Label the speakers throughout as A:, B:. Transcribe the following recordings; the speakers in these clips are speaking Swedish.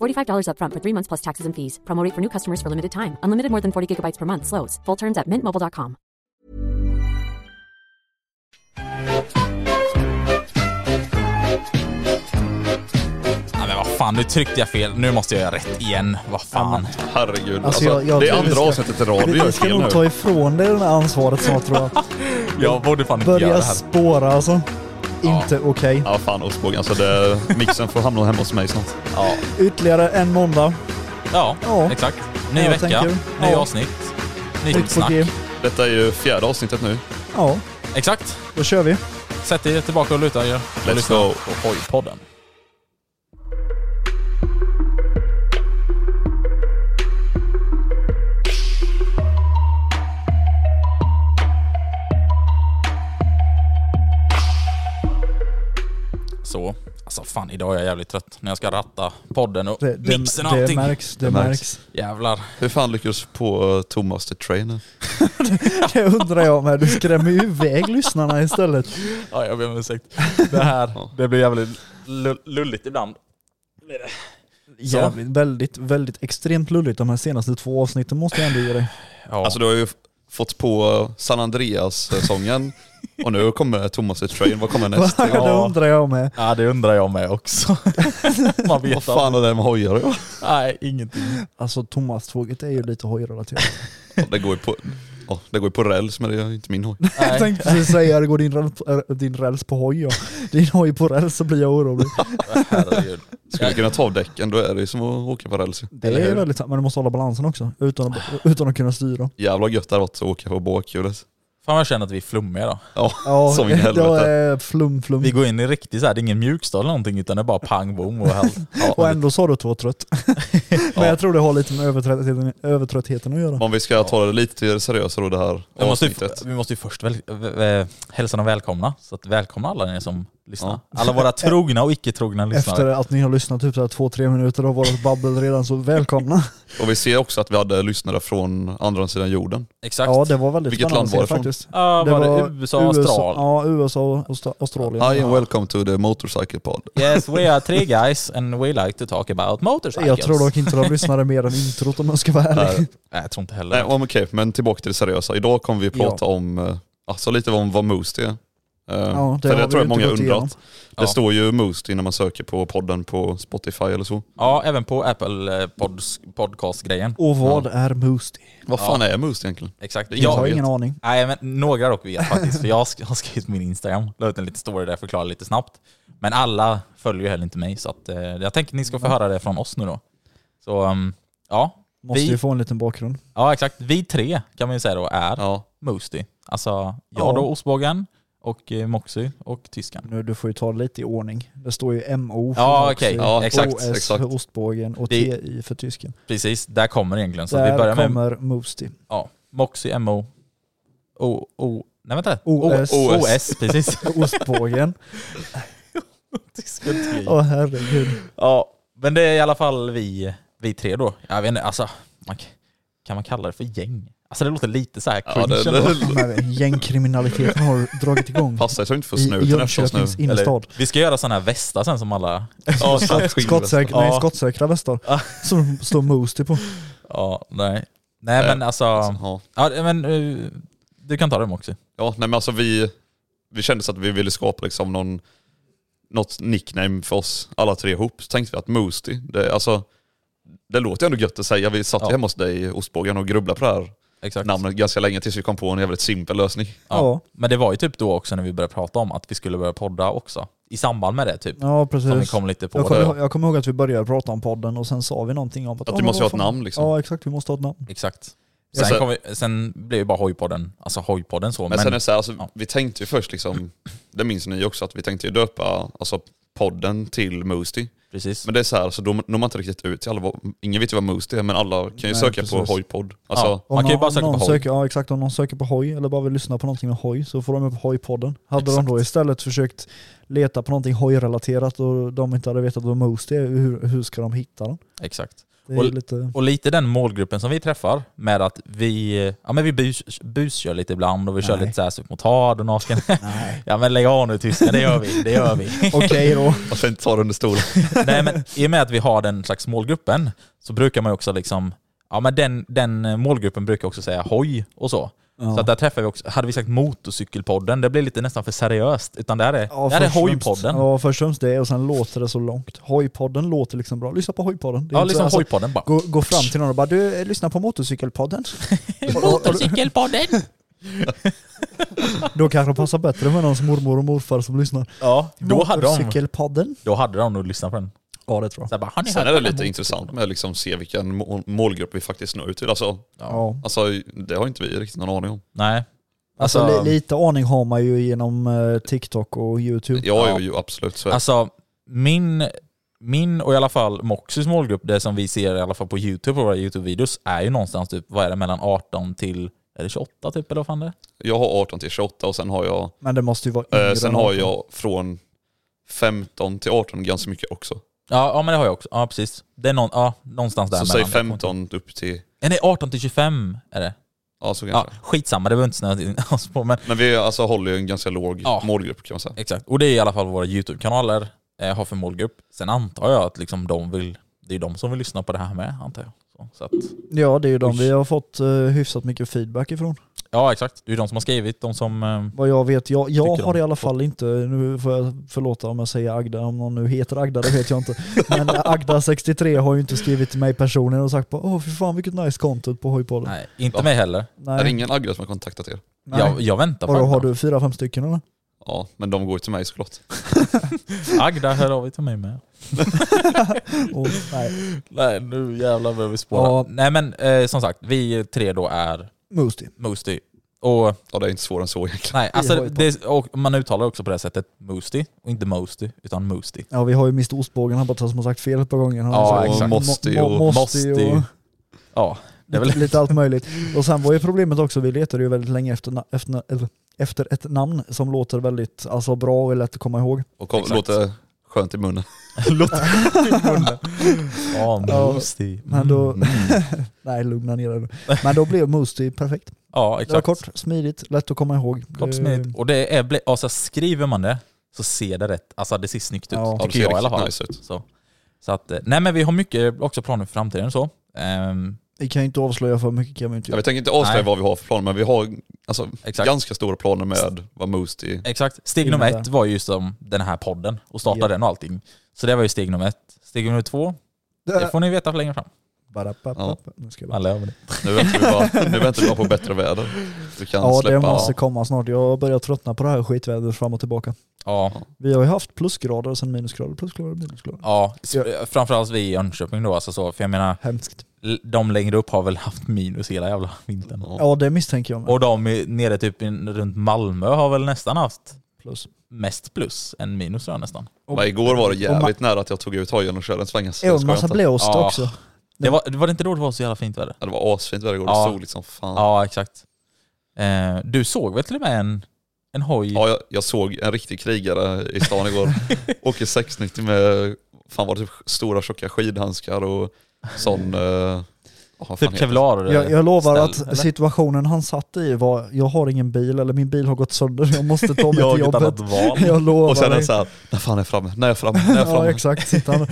A: $45 upfront for three months plus taxes and fees. Promo rate for new customers for limited time. Unlimited more than 40 gigabytes per month. Slows. Full terms at mintmobile.com.
B: Nej men vad fan, nu tryckte jag fel. Nu måste jag göra rätt igen. Vad fan.
C: Herregud.
D: Alltså, jag- jag
C: det är
D: tror vi
C: andra
D: ska-
C: avsnittet i rad vi
D: Vi,
C: gör
D: vi ska
C: fel nu.
D: nog ta ifrån dig det här ansvaret snart tror jag.
B: Jag borde fan inte göra
D: Börja
B: det här.
D: spåra alltså. Inte okej.
C: Ja fan ostbågen, alltså det, mixen får hamna hemma hos mig snart.
D: Ytterligare en måndag.
B: Ja,
D: Ja.
B: exakt. Ny
D: Ja, jag
B: vecka,
D: tänker.
B: ny
D: Ja.
B: avsnitt, nytt
D: Nytt på
B: snack.
D: G.
C: Detta är ju fjärde avsnittet nu.
D: Ja,
B: Exakt.
D: då kör vi.
B: Sätt dig tillbaka och luta er.
C: Let's go.
B: på Hojpodden. Så. Alltså fan, idag är jag jävligt trött när jag ska ratta podden och
D: Det, det,
B: mixen och
D: det
B: allting.
D: märks, det,
C: Det märks.
D: märks.
B: Jävlar.
C: Hur fan lyckas på eh, Thomas the Trainer?
D: Det undrar jag med. Du skrämmer ju iväg lyssnarna istället.
B: Ja, jag ber om ursäkt. Det här, det blir jävligt lu- lulligt ibland.
D: Jävligt, väldigt, väldigt extremt lulligt de här senaste två avsnitten måste jag ändå ge dig.
B: Ja.
C: Alltså du har ju f- fått på eh, San Andreas-sången och nu kommer Thomas the Train. Vad kommer nästa?
D: det undrar jag med.
B: Ja, det undrar jag med också. Man vet
C: Vad fan är det med hojar? Ja,
B: Nej, ingenting.
D: Alltså Thomas-tåget är ju lite hojrelaterat.
C: Det går ju på, ja, det går ju på räls men det är ju inte min hoj.
D: Jag tänkte precis säga det, går din räls, äh, din räls på hoj? Ja. Din hoj på räls så blir jag orolig.
B: Herregud.
C: Skulle kunna ta av däcken, då är det ju som att åka på räls.
D: Det är väldigt sant, men du måste hålla balansen också utan att, utan att kunna styra.
C: Jävla gött det hade varit att åka på bakhjulet.
B: Fan vad jag känner att vi är flummiga då.
C: Ja,
D: Ja,
C: som i
D: det
C: helvete.
D: är flum flum.
B: Vi går in i riktigt så här, det är ingen mjukstart eller någonting utan det är bara pang bom och allt.
D: Och ändå sa du att du var trött. men jag tror det har lite med övertröttheten, övertröttheten att göra.
C: Om vi ska ta det lite seriösare då det här
B: Vi måste, ju,
C: avsnittet.
B: vi måste ju först väl, vä- vä- hälsa dem välkomna. Så att välkomna alla ni som lyssnar. Alla våra trogna och icke-trogna
D: Efter
B: lyssnare.
D: att ni har lyssnat typ så här två, tre minuter av vårt babbel redan, så välkomna.
C: Och vi ser också att vi hade lyssnare från andra sidan jorden.
B: Exakt.
D: Ja, det var väldigt
C: Vilket
D: spännande
C: land
D: att se
C: var det från?
D: faktiskt.
B: Ja, Ah, var det USA, Australien?
D: Ja, USA och Austra- Australien.
C: Hi and welcome to the motorcycle pod.
B: Yes, we are three guys and we like to talk about motorcycles.
D: Jag tror dock inte de lyssnade mer än introt om jag ska vara ärlig.
B: Nej, jag tror inte heller
C: Nej om- okej, men tillbaka till det seriösa. Idag kommer vi prata om, eh, alltså lite om vad Moost är. Eh,
D: Ja, det
C: för
D: har
C: det
D: vi ju
C: tror jag
D: inte
C: många
D: gått igenom.
C: undrat.
B: Ja.
C: Det står ju Moost innan man söker på podden på Spotify eller så.
B: Ja, även på Apple eh, pods, podcast-grejen.
D: Och vad är Moosty?
C: Vad fan är Moost egentligen?
B: Exakt.
C: Det är
D: Jag
B: Ja,
D: har
C: vet.
D: ingen aning.
B: Nej, men några dock vet faktiskt, för jag sk- har skrivit på min Instagram, la ut en liten story där jag förklarar lite snabbt. Men alla följer ju heller inte mig, så att, eh, jag tänker att ni ska få höra det från oss nu då. Så um, ja,
D: Måste
B: vi,
D: ju få en liten bakgrund.
B: ja, exakt. Vi tre kan man ju säga då är
C: Ja.
B: Moosty. Alltså jag
D: Ja.
B: då, ostbågen, och eh, Moxy och tyskan.
D: Nu, du får ju ta det lite i ordning. Det står ju MO för
B: Ja,
D: Moxie,
B: okej. Ja, exakt,
D: OS
C: exakt.
D: för ostbågen och
B: Det-
D: TI för tysken.
B: Precis, där kommer det egentligen. Så
D: Där
B: vi börjar med
D: kommer Moosty.
B: ja, Moxy, MO, O, O, nej vänta.
D: OS.
B: O, OS precis.
D: Ostbågen.
B: Tyskan, tyskan.
D: Åh herregud.
B: Ja, men det är i alla fall vi, vi tre då. Jag vet inte, alltså, man, kan man kalla det för gäng? Alltså det låter lite så här
C: Ja,
B: cringe
C: det-
B: ändå.
C: det-
D: Men gängkriminaliteten har dragit igång
C: Passa er så att inte får
D: i i
C: snuten efter oss nu.
D: Jönköpings innerstad.
B: Vi ska göra sådana här västar sen som alla...
C: Ja, skinn-
D: Skottsäk- nej,
B: Ja.
D: skottsäkra västar som står Moostie på.
B: Ja, nej. Nej
C: Nej.
B: men alltså...
C: Ja.
B: Ja, men eh, du kan ta dem också.
C: Ja, nej men alltså vi, vi kände så att vi ville skapa liksom någon, något nickname för oss alla tre ihop. Så tänkte vi att Moosty, det, alltså, det låter ju ändå gött att säga. Vi satt ju
B: Ja.
C: hemma hos dig i Ostbågen och grubblade på det här
B: Exakt.
C: namnet ganska länge tills vi kom på en jävligt simpel lösning.
B: Ja. Men det var ju typ då också när vi började prata om att vi skulle börja podda också. I samband med det typ.
D: Ja, precis.
B: Som vi kom lite på.
D: jag, kommer
B: det.
D: ihåg, jag kommer ihåg att vi började prata om podden och sen sa vi någonting om att...
C: Att
D: "Ja,
C: vi
D: men
C: måste
D: vad
C: ha ett
D: fan."
C: namn, liksom.
D: Ja, exakt. Vi måste ha ett namn.
B: Exakt.
C: Ja.
B: Sen,
C: Sen-
B: kom vi, sen blev ju bara hojpodden, alltså hojpodden så.
C: Men,
B: Men,
C: sen är det så här, alltså,
B: ja.
C: vi tänkte ju först liksom, det minns ni också, att vi tänkte ju döpa alltså, podden till Moosty.
B: precis.
C: Men det är så här, så då når man inte riktigt ut till alla, vad- ingen vet ju vad Moosty är, men alla kan ju
D: Nej,
C: söka på
D: precis.
C: Hojpodd. Alltså,
B: Ja.
D: Om
B: Man kan ju
D: någon-
B: bara söka
D: om någon
B: på hoj.
D: Söker, ja, exakt. Om någon söker på hoj eller bara vill lyssna på någonting med hoj så får de upp hojpodden. Hade
B: Exakt.
D: de då istället försökt leta på någonting hojrelaterat och de inte hade vetat vad Moostie är, hur, hur ska de hitta den?
B: Exakt.
D: Det är
B: Och-
D: lite...
B: Och lite den målgruppen som vi träffar med att vi, ja men vi bus, buskör lite ibland och vi kör
D: Nej.
B: lite såhär supmotard och naken. ja men lägg av nu tysken, det gör vi, det gör vi.
D: Okej då.
C: Varför inte ta det under stolen?
B: Nej men i och med att vi har den slags målgruppen så brukar man ju också liksom, ja men den, den målgruppen brukar också säga hoj och så. Så att där träffar vi också, hade vi sagt motorcykelpodden, det blir lite nästan för seriöst. Utan där är, där är
D: först och främst-
B: hojpodden. Ja,
D: Ja, först och främst det och sen låter det så långt. Hojpodden låter liksom bra. Lyssna på hojpodden. Det är inte
B: liksom
D: så- alltså,
B: hojpodden bara.
D: Gå, gå fram till någon och bara du, lyssna på motorcykelpodden.
B: Motorcykelpodden!
D: Då kanske det passar bättre med någons mormor och morfar som lyssnar.
B: Ja, då hade de,
D: Motorcykelpodden.
B: då hade de nog lyssnat på den.
D: Ja det tror
B: Så här bara, har ni
C: Sen
B: hört
C: är det
B: om den?
C: lite intressant med att liksom se vilken må- målgrupp vi faktiskt når ut till. Alltså,
D: Ja.
C: alltså, det har inte vi riktigt någon aning om.
B: Nej.
D: Alltså,
B: Alltså,
D: li, lite aning har man ju genom eh, TikTok och YouTube.
C: Jag är ju absolut så.
B: alltså min, min och i alla fall Moxys målgrupp, det som vi ser i alla fall på YouTube, på våra YouTube-videos, är ju någonstans typ, vad är det, mellan 18 till är det 28 typ eller vad fan det är?
C: Jag har 18 till 28 och sen har jag,
D: Men det måste ju vara
C: eh,
B: Mm,
D: yngre
C: sen
D: än
C: har
D: 18.
C: jag från 15 till 18 ganska mycket också.
B: Ja, ja men det har jag också. Ja precis. Det är någon, ja, någonstans där
C: Så säg
B: mellan. Jag kommer inte-
C: 15 upp till,
B: Eh, Nej 18 till 25 är det.
C: ja så
B: Ja,
C: kanske.
B: skitsamma, det behöver inte snöa in oss på. Men
C: Men vi alltså, håller ju en ganska låg
B: Ja.
C: målgrupp kan man säga.
B: Exakt, och det är i alla fall våra YouTube-kanaler eh, har för målgrupp. Sen antar jag att liksom de vill, det är de som vill lyssna på det här med, antar jag. Så, så att,
D: Ja det är ju de
B: Oj.
D: vi har fått eh, hyfsat mycket feedback ifrån.
B: ja, exakt. Det är de som har skrivit, de som... Eh,
D: Vad jag vet, jag, jag
B: Tycker
D: har
B: de-
D: i alla fall inte, nu får jag förlåta om jag säger Agda, om någon nu heter Agda, det vet jag inte. Men Agda63 har ju inte skrivit till mig personligen och sagt bara åh fy fan vilket nice content på hojpodden.
B: nej, inte
C: Va?
B: mig heller.
C: Är det
D: Nej.
C: ingen aggressiv som har kontaktat er?
D: nej.
B: Jag, jag väntar på
D: Vadå,
B: Agda.
D: har du fyra, fem stycken eller?
C: Ja, men de går ju till mig såklart.
B: Agda hör av dig till mig med.
D: Och, nej.
B: Nej, nu jävlar börjar vi spåra.
D: Ja.
B: Nej men eh, som sagt, vi tre då är
D: Moostie.
B: Moosty. Och
C: Ja, det är inte svårare än så egentligen.
B: nej, alltså
D: har ju på-
B: det, och man uttalar också på det här sättet Moosty, och inte Moosty, utan Moosty.
D: Ja vi har ju Mr Ostbågen, han bara som har sagt fel ett par gånger. Han har
B: Ja,
D: sagt
B: exakt.
D: mo-
C: Mosty
D: mo-
C: och-
D: Mosty och...
B: Ja, det är väl...
D: lite allt möjligt. Och sen var ju problemet också, vi letade ju väldigt länge efter, na- efter, na- eller- efter ett namn som låter väldigt alltså, bra och lätt att komma ihåg.
C: Och kom,
B: Exakt.
C: låter skönt i munnen.
B: Ja, Moosty. Mm.
D: Men då, nej lugna ner dig nu. Men då blev Moostie perfekt.
B: Ja,
D: Det var
B: exakt.
D: kort, smidigt, lätt att komma ihåg. Eh,
B: Kort smidigt. Och det är, ble- alltså, skriver man det så ser det rätt, alltså det ser snyggt ut.
D: Ja. Ja,
C: Ja, det
B: tycker
C: ser
B: jag i alla
C: riktigt
B: fall.
C: nice ut.
B: Så. Så att, eh, nej men vi har mycket också planer för framtiden och så. Ehm,
D: Vi kan ju inte avslöja för mycket kan vi inte
C: Ja,
D: göra.
C: vi tänker inte avslöja
B: Nej.
C: vad vi har för planer, men vi har alltså,
B: Exakt.
C: ganska stora planer med vad Moosty
B: exakt. Steg nummer
D: Innebär.
B: ett var ju som den här podden och starta
D: Ja.
B: den och allting. Så det var ju steg nummer ett. Steg nummer två,
D: Eh.
B: det får ni veta för längre fram.
D: Badapapap. Nu ska jag bara-
B: Alla över det.
C: Nu väntar vi bara, nu väntar vi bara på bättre väder. Vi kan
D: Ja det
C: släppa...
D: måste komma snart. Jag börjar tröttna på det här skitvädret fram och tillbaka.
B: Ja,
D: Vi har ju haft plusgrader och sen minusgrader, plusgrader, minusgrader.
B: ja. S- eh, Framförallt vi i Jönköping då alltså så, för jag menar,
D: Hemskt.
B: l- de längre upp har väl haft minus hela jävla vintern.
D: Ja det misstänker jag med.
B: Och de i- nere typ in- runt Malmö har väl nästan haft
D: Plus.
B: mest plus än minus tror jag nästan.
C: Men igår var det jävligt
D: Och
C: nära att jag tog ut hojen och körde en sväng.
D: ma- och en massa
C: inte.
D: blåst
B: Ja.
D: också.
B: Det var, det var det inte då det var så jävla fint väder?
C: Ja, det var asfint väder igår, det
B: Ja.
C: stod liksom fan. Ja.
B: Ja, exakt. Eh, du såg väl till och med en, en hoj?
C: jag, jag såg en riktig krigare i stan igår. Åker 690 med, fan var det typ stora tjocka skidhandskar och sån, eh, Åh, vad fan
B: Typ
C: heter det?
B: kevlar.
D: Jag, jag lovar
B: ställ,
D: att
B: eller?
D: situationen han satt i var, jag har ingen bil eller min bil har gått sönder, jag måste ta mig
B: Jag har
D: till
B: inget
D: jobbet.
B: annat val.
D: Jag lovar
C: Och sen är
D: dig.
C: det såhär, när fan är jag framme? När är jag framme? När är jag
D: Ja
C: framme?
D: exakt, sitter han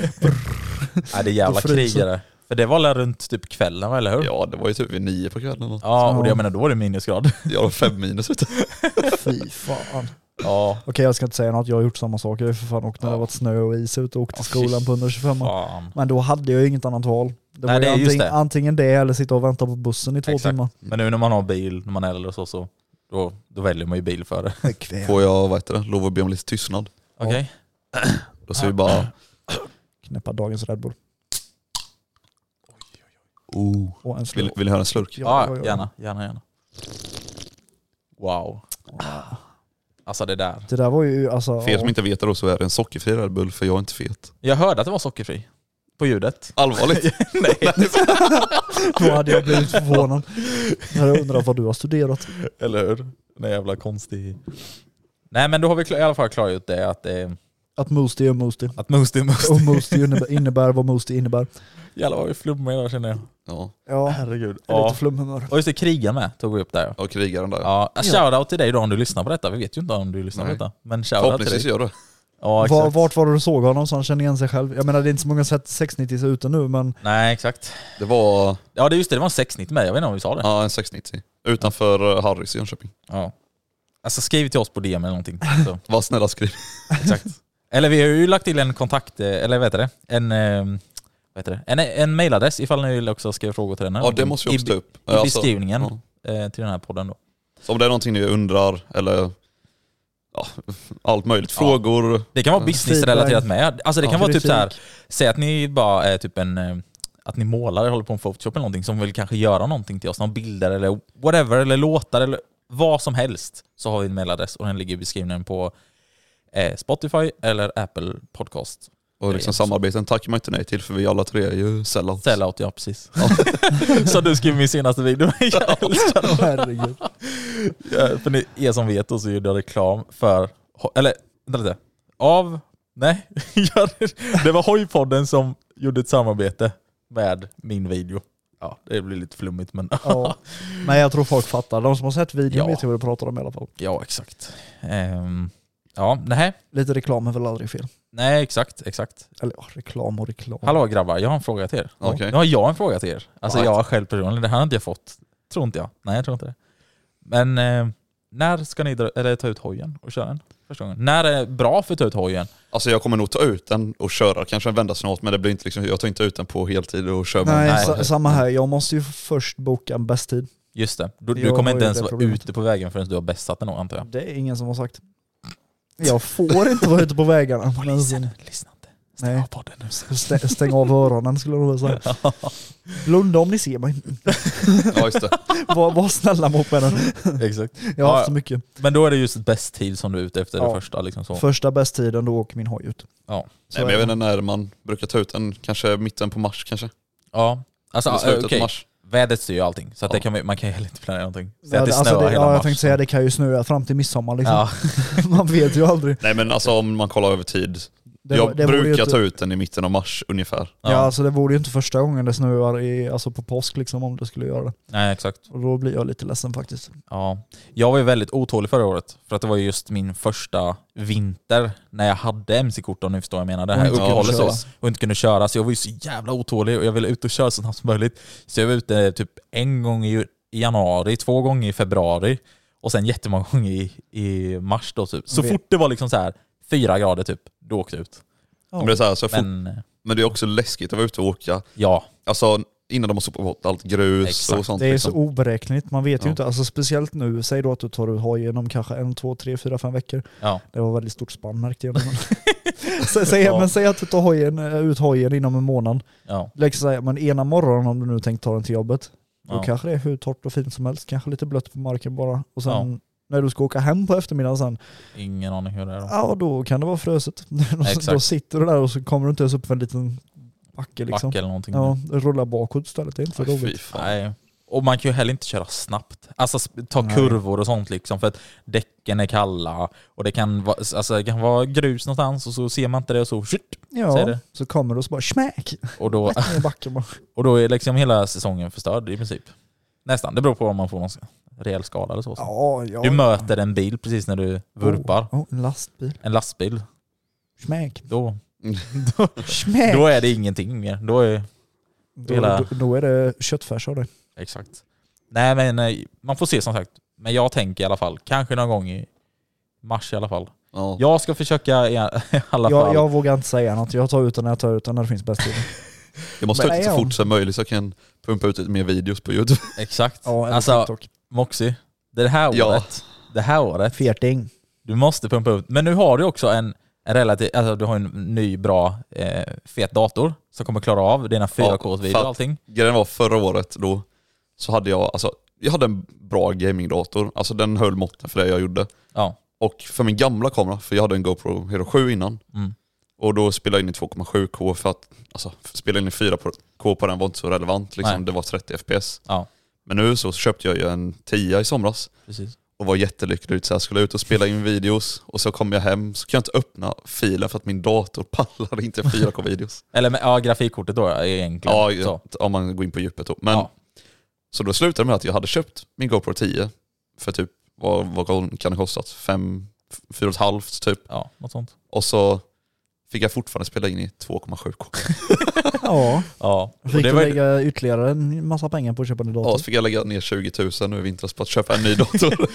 B: Nej, det är jävla
D: Då fryser.
B: krigare. För det var väl runt typ kvällen, va, eller hur?
C: Ja, det var ju typ vid nio på kvällen. Och
B: Ja, och det,
D: Ja.
B: jag menar då var det minusgrad.
C: jag har fem minus ute.
D: Fy fan.
B: Ja,
D: Okej jag ska inte säga något, jag har gjort samma sak. Jag har ju för fan åkt när det har varit snö och is ute och åkt till
B: Åh, fy
D: skolan på 125
B: fan.
D: Men då hade jag ju inget annat val. Det
B: Nej, det
D: var ju
B: är just
D: antingen,
B: det.
D: antingen det eller sitta och vänta på bussen i två
B: Exakt.
D: timmar.
B: Men nu när man har bil, när man är äldre och så, så då, då väljer man ju bil för det.
D: Bekvämt.
C: Får jag, vad heter det, lov att be om lite tystnad?
B: Okej?
C: Då säger vi bara,
D: Knäppa dagens Red Bull.
C: oh.
D: Och en slurk.
C: Vill, vill ni höra en slurk?
B: Ja, gärna, gärna, gärna. Wow. Alltså det där.
D: Det där var ju alltså...
C: För er som
D: ja.
C: inte vet det då så är det en sockerfri Red Bull för jag är inte fet.
B: Jag hörde att det var sockerfri. På ljudet.
C: Allvarligt?
B: Nej.
D: Då hade jag blivit förvånad. Jag hade undrat vad du har studerat.
B: Eller hur? Nej jävla konstig... Nej men då har vi kla- i alla fall klargjort det att, eh,
D: Att Moostie är Moostie.
B: att Moostie är Moostie.
D: Och Moostie innebär, innebär vad Moostie innebär.
B: Jävlar vad vi flummar idag känner jag.
C: Ja,
D: Ja,
B: Herregud.
D: jag är lite
B: Ja.
D: flumhumör.
B: Och just det, krigar med tog vi upp där.
C: och krigaren där.
B: Ja, shoutout till dig då om du lyssnar på detta. Vi vet ju inte om du lyssnar
C: Nej.
B: på detta. Men shoutout till
C: Förhoppningsvis
B: dig.
C: gör det.
B: Ja,
D: Var,
B: exakt.
D: vart var det du såg honom så han känner igen sig själv? Jag menar det är inte så många sätt 690 ute nu men
B: Nej exakt.
C: Det var
B: Ja det är just det, det var en 690 med. Jag vet inte om vi sa det.
C: ja, en 690 utanför eh, Harrys i Jönköping.
B: Ja. Alltså skriv till oss på DM eller någonting. Så,
C: Var snälla skriv.
B: exakt. Eller vi har ju lagt till en kontakt, eh, eller vad heter det? En, eh, vad heter det? en, en mailadress ifall ni vill också skriva frågor till den. här.
C: Ja det måste vi också ta
B: I,
C: upp.
B: i
C: Alltså,
B: beskrivningen
C: ja.
B: eh, till den här podden då.
C: Så om det är någonting ni undrar eller ja, allt möjligt,
B: Ja.
C: frågor.
B: Det kan vara businessrelaterat med. Alltså det kan
C: Ja,
B: vara typ
D: kritik.
B: så här, säg att ni bara är typ en eh, att ni målar, håller på med photoshop eller någonting som vill kanske göra någonting till oss, någon bilder eller whatever, eller låtar eller vad som helst, så har vi en mailadress och den ligger i beskrivningen på eh, Spotify eller Apple Podcast.
C: Och liksom
B: Yes.
C: samarbeten tackar man inte nej till för vi alla tre är ju sellouts.
B: Sellout, ja precis. Så du skrev i min senaste video. Jag älskar det.
D: herregud.
B: Ja, För ni, er som vet då så gjorde jag reklam för, eller vänta lite, av, nej, gör det- det var Hojpodden som gjorde ett samarbete med min video. Ja, det blir lite flummigt men
D: Ja. Men jag tror folk fattar. De som har sett videon
B: Ja.
D: vet ju vad du pratar om i alla fall.
B: ja exakt. Ehm, ja, nej,
D: Lite reklam är väl aldrig fel.
B: nej exakt, exakt.
D: Eller ja, reklam och reklam.
B: Hallå grabbar, jag har en fråga till er.
C: Okej.
B: Nu har jag en fråga till er. Alltså
C: Right.
B: jag själv personligen, det här har inte jag fått. Tror inte jag. Nej, jag tror inte det. Men eh, när ska ni dra, eller ta ut hojen och köra den? Första gången. När är bra för att ta ut hojen?
C: Alltså jag kommer nog ta ut den och köra kanske en vända snart men det blir inte liksom, jag tar inte ut den på heltid och kör med
D: Nej,
C: den.
B: Nej.
D: sa- samma här. Jag måste ju först boka en bäst tid.
B: Just det. Du, du
D: Jag
B: kommer
D: har
B: inte
D: ju
B: ens
D: det
B: vara
D: problemet.
B: ute på vägen förrän du har bästat den nog, antar jag.
D: Det är ingen som har sagt. Jag får inte vara ute på vägarna. Men-
B: lyssna inte.
D: Nej.
B: på den nu.
D: Stä- Stäng av öronen skulle jag nog vilja säga. Blunda om ni ser mig.
C: Ja just det.
D: Var, var snälla mot mig nu.
B: Exakt.
D: Jag har
B: Ja,
D: haft så mycket.
B: Men då är det just bäst tid som du är ute efter det
D: Ja.
B: första. Liksom så.
D: Första bästtiden, då åker min hoj ut.
B: Ja.
D: Så
C: Nej, men jag
D: är
C: vet
D: det.
C: inte när man brukar ta ut den, kanske mitten på mars kanske?
B: ja. Alltså,
C: Eller
B: äh,
C: slutet på
B: okej.
C: mars.
B: Vädret styr ju allting, så att det
C: Ja.
B: kan, man- man kan ju heller inte planera någonting. Säg
D: Ja,
B: att det
D: det-
B: snöar
D: alltså det,
B: hela
D: ja, jag
B: mars.
D: tänkte säga det kan ju snöa fram till midsommar liksom.
B: Ja.
D: Man vet ju aldrig.
C: Nej men alltså om man kollar över tid.
D: Det,
C: jag
D: det vore ju typ-
C: brukar
D: inte,
C: ta ut den i mitten av mars ungefär.
D: Ja, alltså det vore ju inte första gången det snöar i, alltså på påsk liksom om det skulle göra det.
B: Nej, exakt.
D: Och då blir jag lite ledsen faktiskt.
B: Ja. Jag var ju väldigt otålig förra året, för att det var ju just min första vinter när jag hade MC-kort om ni förstår vad jag menar. Det här
D: Och inte kunde
B: uppehållet så.
D: köra.
B: Och inte kunde köra, så jag var ju så jävla otålig och jag ville ut och köra så snabbt som möjligt. Så jag var ute typ en gång i i januari, två gånger i februari och sen jättemånga gånger i, i mars då typ. Så
D: Vet.
B: fort det var liksom så här fyra grader typ, då åkte jag ut.
C: Men, det är så här, så fort,
B: Men eh,
C: men det är också läskigt att vara ute och åka.
B: ja,
C: Alltså innan de har sopat bort allt grus och
B: Exakt.
C: sånt.
D: Det är
C: liksom.
D: så oberäknligt, man vet
C: Ja.
D: ju inte. Alltså speciellt nu, säg då att du tar ut hojen om kanske en, två, tre, fyra, fem veckor.
B: ja.
D: Det var väldigt stort spann märkte jag. men- Sä- säg,
B: Ja.
D: men säg att du tar hojen, eh, ut hojen inom en månad.
B: ja.
D: Lägg så här, men ena morgonen om du nu tänkt ta den till jobbet, då
B: Ja.
D: kanske det är hur torrt och fint som helst, kanske lite blött på marken bara. Och sen när du ska åka hem på eftermiddagen sen,
B: Ingen aning hur det är då.
D: ja då kan det vara fröset.
B: Exakt.
D: då sitter du där och så kommer du inte ens upp för en liten backe liksom.
B: Backe eller någonting.
D: Ja, rulla bakåt istället, det är inte så
C: Aj,
D: roligt.
C: fy fan.
B: Nej. Och man kan ju heller inte köra snabbt. Alltså sp- ta
D: Nej.
B: kurvor och sånt liksom för att däcken är kalla och det kan vara, alltså, det kan vara grus någonstans och så ser man inte det och så shit, säger
D: Ja,
B: det.
D: så kommer det och så bara smack!
B: och, då,
D: I backen bara.
B: och då är liksom hela säsongen förstörd i princip. Nästan. Det beror på om man får någon rejäl skada eller så.
D: Ja, ja.
B: Du möter en bil precis när du vurpar.
D: Oh, oh, en lastbil.
B: En lastbil.
D: Smack!
B: Då,
D: Smack!
B: då är det ingenting mer. Då är,
D: Då,
B: hela-
D: då, då är det köttfärs av det.
B: Exakt. Nej men eh, man får se som sagt. Men jag tänker i alla fall, kanske någon gång i mars i alla fall.
C: Ja.
B: Jag ska försöka i a- i alla fall.
D: Jag, jag vågar inte säga något. Jag tar ut den när jag tar ut den när det finns bäst tid.
C: Jag måste
D: Men
C: ta ut det
D: är
C: så
D: hon-
C: fort som möjligt så jag kan pumpa ut lite mer videos på Youtube.
B: Exakt.
D: Ja, eller
B: alltså
D: TikTok.
B: Moxie, det här
C: Ja.
B: året, det här året,
D: Feting.
B: du måste pumpa upp. Men nu har du också en, en relativt, alltså du har en ny bra eh, fet dator som kommer klara av dina 4K-videor
C: fatt.
B: och allting.
C: Grejen var förra året då, så hade jag, alltså, jag hade en bra gamingdator. Alltså den höll måtten för det jag gjorde.
B: Ja.
C: Och för min gamla kamera, för jag hade en GoPro Hero 7 innan.
B: Mm.
C: Och då spelade jag in i 2,7K för att alltså, spela in i 4K på den var inte så relevant. Liksom.
B: Nej.
C: Det var 30 FPS.
B: Ja,
C: Men nu så köpte jag ju en 10 i somras
B: precis.
C: och var jättelycklig ut. Så jag skulle ut och spela in videos och så kom jag hem så kan jag inte öppna filen för att min dator pallar inte 4K-videos.
B: Eller men, ja, grafikkortet då ja, egentligen.
C: ja,
B: så.
C: ja, om man går in på djupet då. Men,
B: Ja.
C: Så då slutade det med att jag hade köpt min GoPro 10 för typ, vad, vad kan det kostat? 5, 4,5 typ.
B: ja, något sånt.
C: Och så fick jag fortfarande spela in i 2,7K.
D: Ja,
B: Ja. Och
D: fick
B: det
D: du
B: var ju-
D: lägga ytterligare en massa pengar på att köpa en ny
C: Ja,
D: dator.
C: så fick jag lägga ner 20 000 nu i vintras på att köpa en ny dator.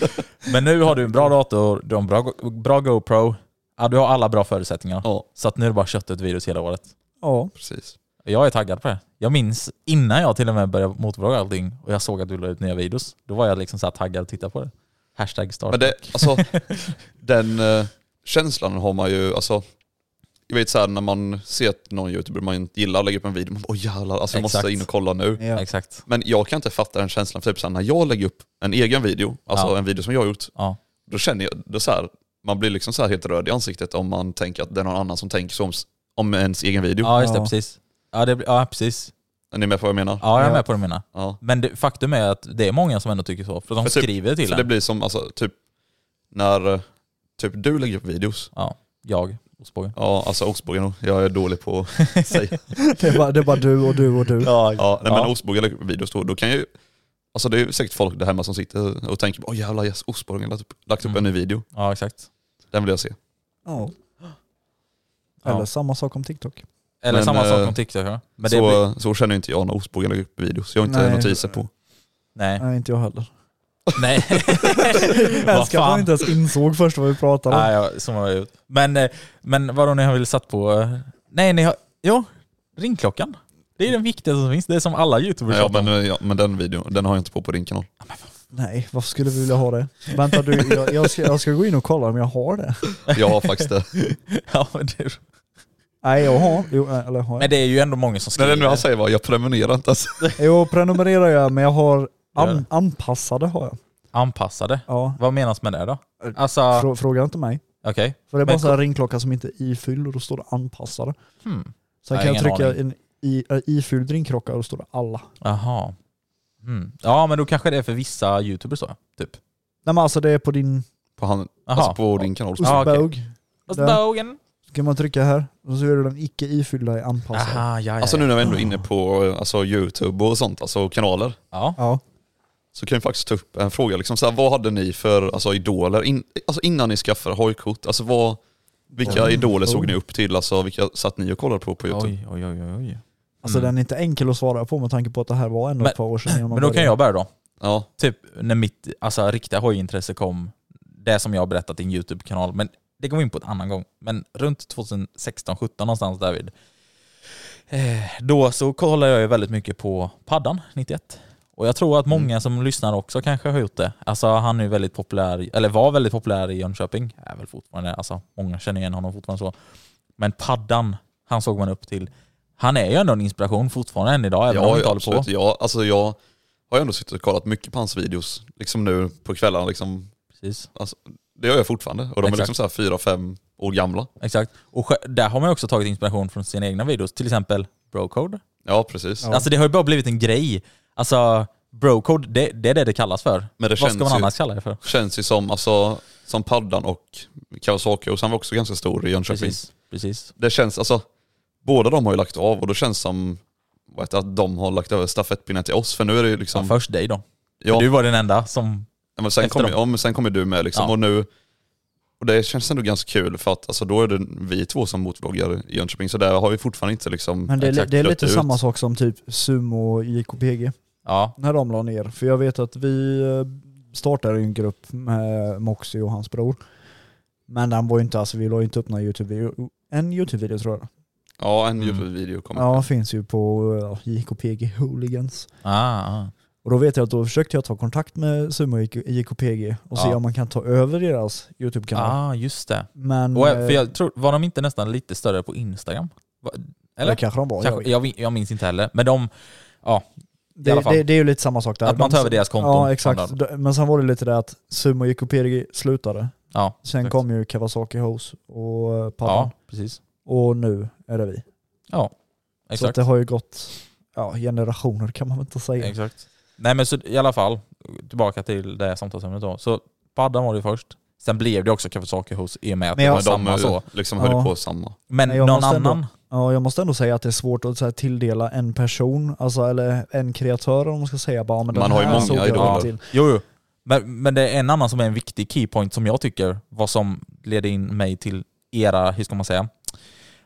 B: Men nu har du en bra dator, du har en bra, bra GoPro, ja, du har alla bra förutsättningar.
C: ja,
B: Så att nu är det bara kött ut virus hela året.
D: Ja,
C: precis.
B: Jag är taggad på det. Jag minns innan jag till och med började motorvlogga allting och jag såg att du la ut nya videos. Då var jag liksom så här taggad att titta på det. Hashtag start.
C: Men det, alltså, den eh, känslan har man ju, alltså, jag vet såhär när man ser att någon youtuber man inte gillar lägger upp en video, man bara "Åh, jävlar, alltså, jag måste
B: Exakt.
C: in och kolla nu.
D: ja.
B: Exakt.
C: Men jag kan inte fatta den känslan, för typ såhär, när jag lägger upp en egen video, alltså
B: Ja.
C: en video som jag har gjort,
B: Ja.
C: då känner jag, då så här, man blir liksom så här helt röd i ansiktet om man tänker att det är någon annan som tänker så om, s- om ens egen video.
B: ja, just det.
D: Ja.
B: Precis. Ja, det, blir- ja, precis.
C: Är ni med på vad jag menar?
B: Ja, jag är
D: Ja.
B: med på det du menar.
C: Ja.
B: Men det, faktum är att det är många som ändå tycker så. För de
C: För typ-
B: skriver till
C: För det
B: en.
C: blir som, alltså typ, när eh, typ du lägger upp videos,
B: Jag, ostbågen.
C: ja alltså ostbågen, då, jag är dålig på att säga.
D: Det, är bara, det är bara du och du och du.
C: Ja, nej, men
B: Ja.
C: ostbågen lägger upp videos då, då kan ju, alltså det är ju säkert folk där hemma som sitter och tänker, åh jävlar yes, ostbågen har lagt upp, lagt upp
B: Mm.
C: en ny video,
B: Ja, exakt.
C: den vill jag se.
D: Ja.
B: Ja.
D: Eller samma sak om TikTok.
B: Eller
C: Men,
B: samma sak
C: eh,
B: om TikTok. ja. Men det
C: så,
B: blir,
C: så känner ju inte jag när ostbågen lägger upp videos, jag har inte
D: Nej.
C: notiser på.
B: nej.
D: Nej, inte jag heller.
B: Nej.
D: Jag älskar att man
B: fan?
D: inte ens insåg först vad vi pratade om.
B: Nej, jag, som jag gjort. Men, eh, men vadå, ni har väl satt på... eh, Nej, ni har... Jo, ringklockan. Det är den viktigaste som finns. Det är som alla youtubers
C: Ja,
B: tjatar
C: men, eh,
B: om.
C: ja, men den videon, den har jag inte på på din kanal.
D: Nej, varför skulle vi vilja ha det? Vänta du, jag, jag, ska, jag ska gå in och kolla om jag har det.
C: Jag har faktiskt det.
B: Ja, men, det,
D: Nej, jag har jo, eh, eller har
B: men
D: jag?
B: det är ju ändå många som
C: Nej,
B: skriver.
C: det är nu han säger vad, jag prenumererar inte alltså.
D: Jo, prenumererar jag, men jag har
B: Gör det.
D: an, anpassade har jag.
B: Anpassade.
D: Ja.
B: Vad menas med det då? Alltså,
D: Frå, fråga inte mig.
B: okej.
D: För det är
B: Men
D: bara så här ringklocka som inte är ifylld och då står det anpassade.
B: Hmm.
D: Sen
B: Jag
D: kan
B: har
D: jag
B: ingen
D: trycka
B: aning.
D: en i, äh, ifylld ringklocka och då står det alla.
B: Jaha. Mm. Ja, men då kanske det är för vissa youtubers då, typ.
D: Nej men alltså det är på din
C: På, han,
B: Aha.
C: alltså på din kanal.
B: Ja, okej.
D: ostbåg.
B: Alltså, Ostbågen.
D: Så kan man trycka här och så är det den icke ifyllda i anpassad.
B: Aha, ja, ja,
C: Alltså nu
B: ja.
C: när vi ändå är inne på eh, alltså, YouTube och sånt, alltså kanaler.
B: ja.
D: Ja.
C: Så kan vi faktiskt ta upp en fråga, liksom, så här, vad hade ni för alltså, idoler in, alltså, innan ni skaffade hojkort? Alltså, vad, vilka
D: Oj.
C: idoler såg
D: Oj.
C: ni upp till? Alltså, vilka satt ni och kollade på på YouTube?
B: Oj, oj, oj, oj. oj.
D: Alltså
B: Mm.
D: den är inte enkel att svara på med tanke på att det här var ändå
B: Men-
D: ett par år sedan. innan man
B: Men då kan
D: började.
B: jag börja då.
C: Ja,
B: typ när mitt alltså, riktiga hojintresse kom, det som jag har berättat i en YouTube-kanal, men det går vi in på en annan gång. Men runt 2016-17 någonstans därvid, eh, då så kollade jag ju väldigt mycket på Paddan 91. Och jag tror att många
C: Mm.
B: som lyssnar också kanske har gjort det. Alltså han är ju väldigt populär, eller var väldigt populär i Jönköping. Är väl fortfarande, alltså många känner igen honom fortfarande så. Men Paddan, han såg man upp till. Han är ju ändå en inspiration fortfarande än idag, även om han
C: ja
B: inte håller på.
C: absolut. Jag, alltså, jag har ju ändå suttit och kollat mycket på hans videos, liksom nu på kvällarna. Liksom,
B: Precis.
C: alltså, det gör jag fortfarande. Och de
B: Exakt.
C: är liksom så här fyra, fem år gamla.
B: Exakt. Och sj- där har man ju också tagit inspiration från sina egna videos. Till exempel Brocode.
C: Ja, precis.
D: Ja.
B: Alltså det har ju bara blivit en grej. Alltså Brocode, det, det är det det kallas för.
C: Men det
B: Vad ska
C: känns
B: man
C: ju-
B: annars kalla det för?
C: Känns ju som, alltså, som Paddan och Kawasaki, och han var också ganska stor i Jönköping.
B: Precis. Precis.
C: Det känns, alltså, båda de har ju lagt av och det känns som vad heter det, att de har lagt över stafettpinnen till oss. För nu är det ju
B: Ja,
C: liksom...
B: först dig då.
C: ja,
B: För Du var den enda som...
C: Ja, men sen
B: Efter
C: kommer
B: dem.
C: ja, men sen kommer du med liksom.
B: Ja.
C: Och nu, och det känns ändå ganska kul för att alltså, då är det vi två som motvloggar i Jönköping. Så där har vi fortfarande inte liksom
D: Men det är, li-
C: exakt
D: det är
C: dött
D: lite
C: ut.
D: samma sak som typ Sumo och JKPG
B: Ja,
D: när de la ner. För jag vet att vi eh, startade en grupp med Moxie och hans bror. Men den var ju inte, alltså vi la ju inte upp någon YouTube-video. En YouTube-video tror jag.
C: Ja, en
B: Mm.
C: Youtube-video kommer.
D: Ja, finns ju på eh, JKPG Hooligans.
B: ah, ah.
D: Och då vet jag att då försökte jag ta kontakt med Sumo och JKPG och se
B: Ja.
D: om man kan ta över deras YouTube-kanal.
B: ah just det.
D: Men...
B: Och, jag- för
D: eh,
B: jag tror, var de inte nästan lite större på Instagram? Va- Eller?
D: Det kanske de var.
B: Kanske,
D: jag,
B: jag, min- jag minns inte heller. Men de,
D: det,
B: alla fall.
D: det, det är ju lite samma sak där.
B: att man
D: De-
B: tar över deras konton.
D: Ja exakt,
B: från dem.
D: D- men sen var det lite det att Sumo och JKPG slutade.
B: Ja,
D: Sen
B: exakt.
D: kom ju Kawasaki Hose och eh, Paddan.
B: Ja, precis.
D: Och nu är det vi.
B: Ja,
D: Så att
B: exakt.
D: det har ju gått ja, generationer kan man väl inte säga.
B: exakt. Nej men så i alla fall, tillbaka till det här samtalsämnet då. Så paddan var det först. Sen blev det också Kawasaki hos i och med att
D: Men
B: det
D: jag-
B: var
C: Men de
B: samma så.
C: liksom
D: Ja.
C: höll på samma.
B: Men
D: Men jag
B: någon
D: måste ändå-
B: annan?
D: Ja, jag måste ändå säga att det är svårt att så här, tilldela en person, alltså, eller en kreatör om man ska säga. Bara, men den
C: Man har ju
D: här
C: många
D: såg jag
C: idoler.
D: upp till.
B: Jo, jo. Men, men det är en annan som är en viktig keypoint som jag tycker var som ledde in mig till era, hur ska man säga,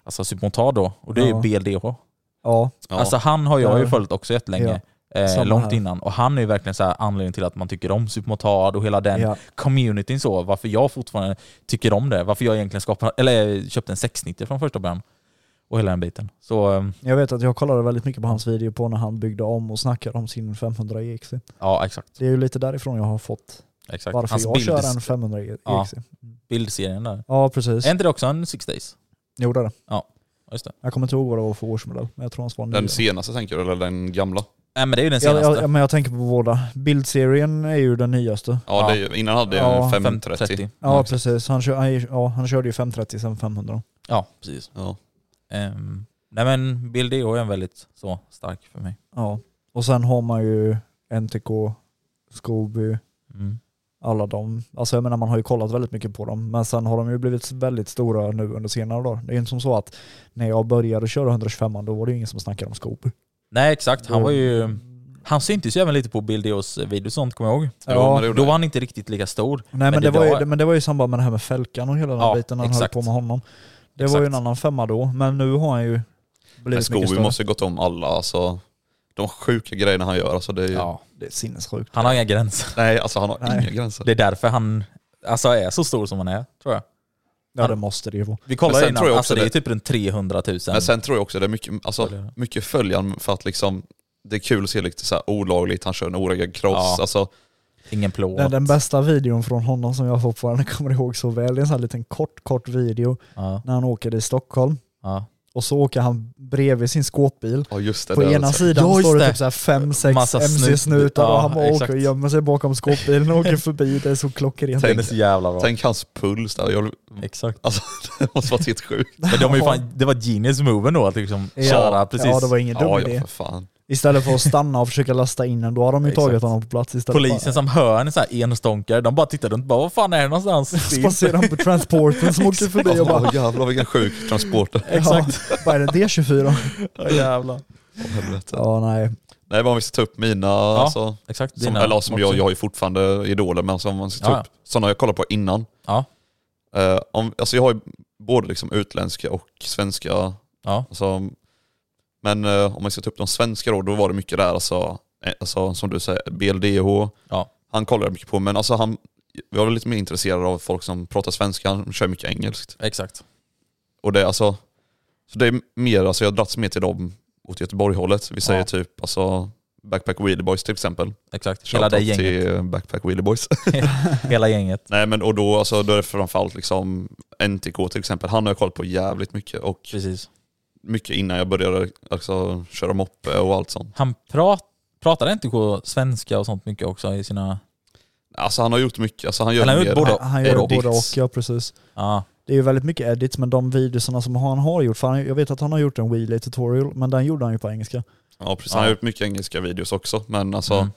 B: alltså sympatad då. Och det är ju
D: Ja.
B: BLDH.
D: Ja,
C: Ja.
B: Alltså han har jag
D: Ja.
B: ju följt också jättelänge. Eh,
D: Samma
B: långt
D: här.
B: innan. Och han är ju verkligen så här anledningen till att man tycker om Supermotard och hela den
D: ja.
B: communityn så. Varför jag fortfarande tycker om det. Varför jag egentligen skapade, eller köpte en 690 från första början. Och hela den biten. Så eh,
D: Jag vet att jag kollade väldigt mycket på hans video på när han byggde om och snackade om sin 500 EXC.
B: ja, exakt.
D: Det är ju lite därifrån jag har fått
B: exakt.
D: varför
B: Hans
D: jag
B: bild,
D: kör en 500 EXC.
B: Ja.
D: Ja,
B: bildserien där.
D: precis.
B: Är inte det också en Six Days?
D: Jo det är det.
B: Just det.
D: Jag kommer inte ihåg vad det var för årsmodell, men jag tror hans var
C: Den
D: ny.
C: senaste tänker du, eller den gamla?
B: Nej men det är ju den
D: Ja,
B: senaste.
D: ja, ja, men jag tänker på båda. Bildserien är ju den nyaste.
B: Ja.
C: Ja, det är ju- innan hade jag
D: Ja.
C: 530.
D: Ja, precis. Han, kör, han, ja, han körde ju 530 sen 500.
B: Ja, precis.
C: Ja.
B: Ehm, nej men Bill D.O. är en väldigt så stark för mig.
D: Ja. Och sen har man ju NTK, Scooby,
B: Mm.
D: alla dem. Alltså jag menar man har ju kollat väldigt mycket på dem. Men sen har de ju blivit väldigt stora nu under senare dagar. Det är ju inte som så att när jag började köra 125 då var det ju ingen som snackade om Scooby.
B: Nej exakt, han
D: Då-
B: var ju... Han syntes ju även lite på Bill D.O.s videos och sånt kommer jag ihåg.
C: Jo,
D: Ja.
C: men det gjorde
B: Då
C: jag.
B: var han inte riktigt lika stor.
D: Nej men,
B: Men
D: det,
B: det
D: var
B: var-
D: ju, men det var ju i samband med det här med Fälkan och hela den
B: Ja,
D: biten han
B: exakt.
D: höll på med honom. Det var
B: Exakt.
D: ju en annan femma då, men nu har han ju
C: Men
D: blivit mycket
C: Scooby
D: större.
C: måste ju gått om alla, alltså. De sjuka grejerna han gör, alltså det är ju...
B: Ja.
D: Det är sinnessjukt.
B: Han har inga gränser.
C: Nej, alltså han har
D: Nej.
C: inga gränser.
B: Det är därför han alltså, är så stor som han är, tror jag.
D: Ja det måste det ju vara.
B: Vi
C: Men
B: kollade
C: sen
B: innan,
C: tror jag också
B: alltså det är
C: det-
B: typ runt 300 000.
C: Men sen tror jag också det är mycket, alltså,
B: Följare.
C: mycket följande för att liksom, det är kul att se lite så här olagligt, han kör en oreggad cross.
B: Ja.
C: Alltså,
B: Ingen plåt.
D: Den, den bästa videon från honom som jag fortfarande kommer ihåg så väl, det är en sån här liten kort, kort video
B: Ja,
D: när han åker i Stockholm.
B: ja.
D: Och så åker han bredvid sin skåpbil.
C: ja just det.
D: På
C: där,
D: ena
C: alltså.
D: sidan
B: Ja, just
D: står det
B: det.
D: typ så här fem, sex
B: Massa snut-
D: MC-snutar
B: Ja,
D: och han bara
B: exakt.
D: åker och gömmer sig bakom skåpbilen och åker förbi. Det är så klockrent.
B: Den är så jävla bra.
C: Tänk hans puls där. Jag,
B: Exakt.
C: alltså, det måste varit helt sjukt.
B: Men de är ju fan, det var genius move ändå att liksom
D: Ja.
B: köra precis.
D: Ja, det var ingen dum
C: Ja, ja
D: idé.
C: för fan.
D: Istället för att stanna och försöka lasta in den, då har de ju
B: Exakt.
D: tagit honom på plats istället.
B: Polisen som hör en så här enstånkare, de bara tittar runt bara vad fan är det någonstans?
D: Bara Spacerar han på transporten som åker förbi och bara
C: Ja, jävlar vilken sjuk transporter.
B: Exakt.
D: Ja, vad är det? D24?
B: Ja, jävlar.
C: Åh, helvete.
D: Ja, nej.
C: Nej, men om vi ska ta upp mina, alltså,
B: Exakt.
C: som, eller, som jag, jag har ju fortfarande idoler, men som man ska ta
B: Ja,
C: upp, sådana jag kollar på innan.
B: Ja.
C: Eh, om, alltså jag har ju både liksom utländska och svenska
B: Ja.
C: Alltså, men eh, om man ska ta upp de svenska då, då var det mycket där alltså, eh, alltså som du säger, BLDH.
B: Ja.
C: Han kollade mycket på, men alltså han, jag var lite mer intresserad av folk som pratar svenska, han kör mycket engelskt.
B: Exakt.
C: Och det är alltså, så det är mer, alltså jag har dragits mer till dem åt Göteborg-hållet. Vi säger
B: Ja.
C: typ alltså Backpack Wheelie Boys till exempel.
B: Exakt. Hela det
C: Shoutout
B: gänget.
C: till Backpack Wheelie Boys.
B: Hela gänget.
C: Nej men och då, alltså, då är det framförallt liksom NTK till exempel. Han har jag kollat på jävligt mycket och
B: Precis.
C: mycket innan jag började alltså, köra moppe och allt sånt.
B: Han prat, pratade inte på svenska och sånt mycket också i sina...
C: Alltså han har gjort mycket, alltså han gör
B: Han har gjort
C: mer.
B: både-
D: Han, han gör
C: edits.
D: både och, ja precis.
B: Ja.
D: Det är ju väldigt mycket edits, men de videorna som han har gjort, för han, jag vet att han har gjort en wheelie tutorial, men den gjorde han ju på engelska.
C: Ja precis,
B: Ja.
C: han har gjort mycket engelska videos också men alltså
B: Mm.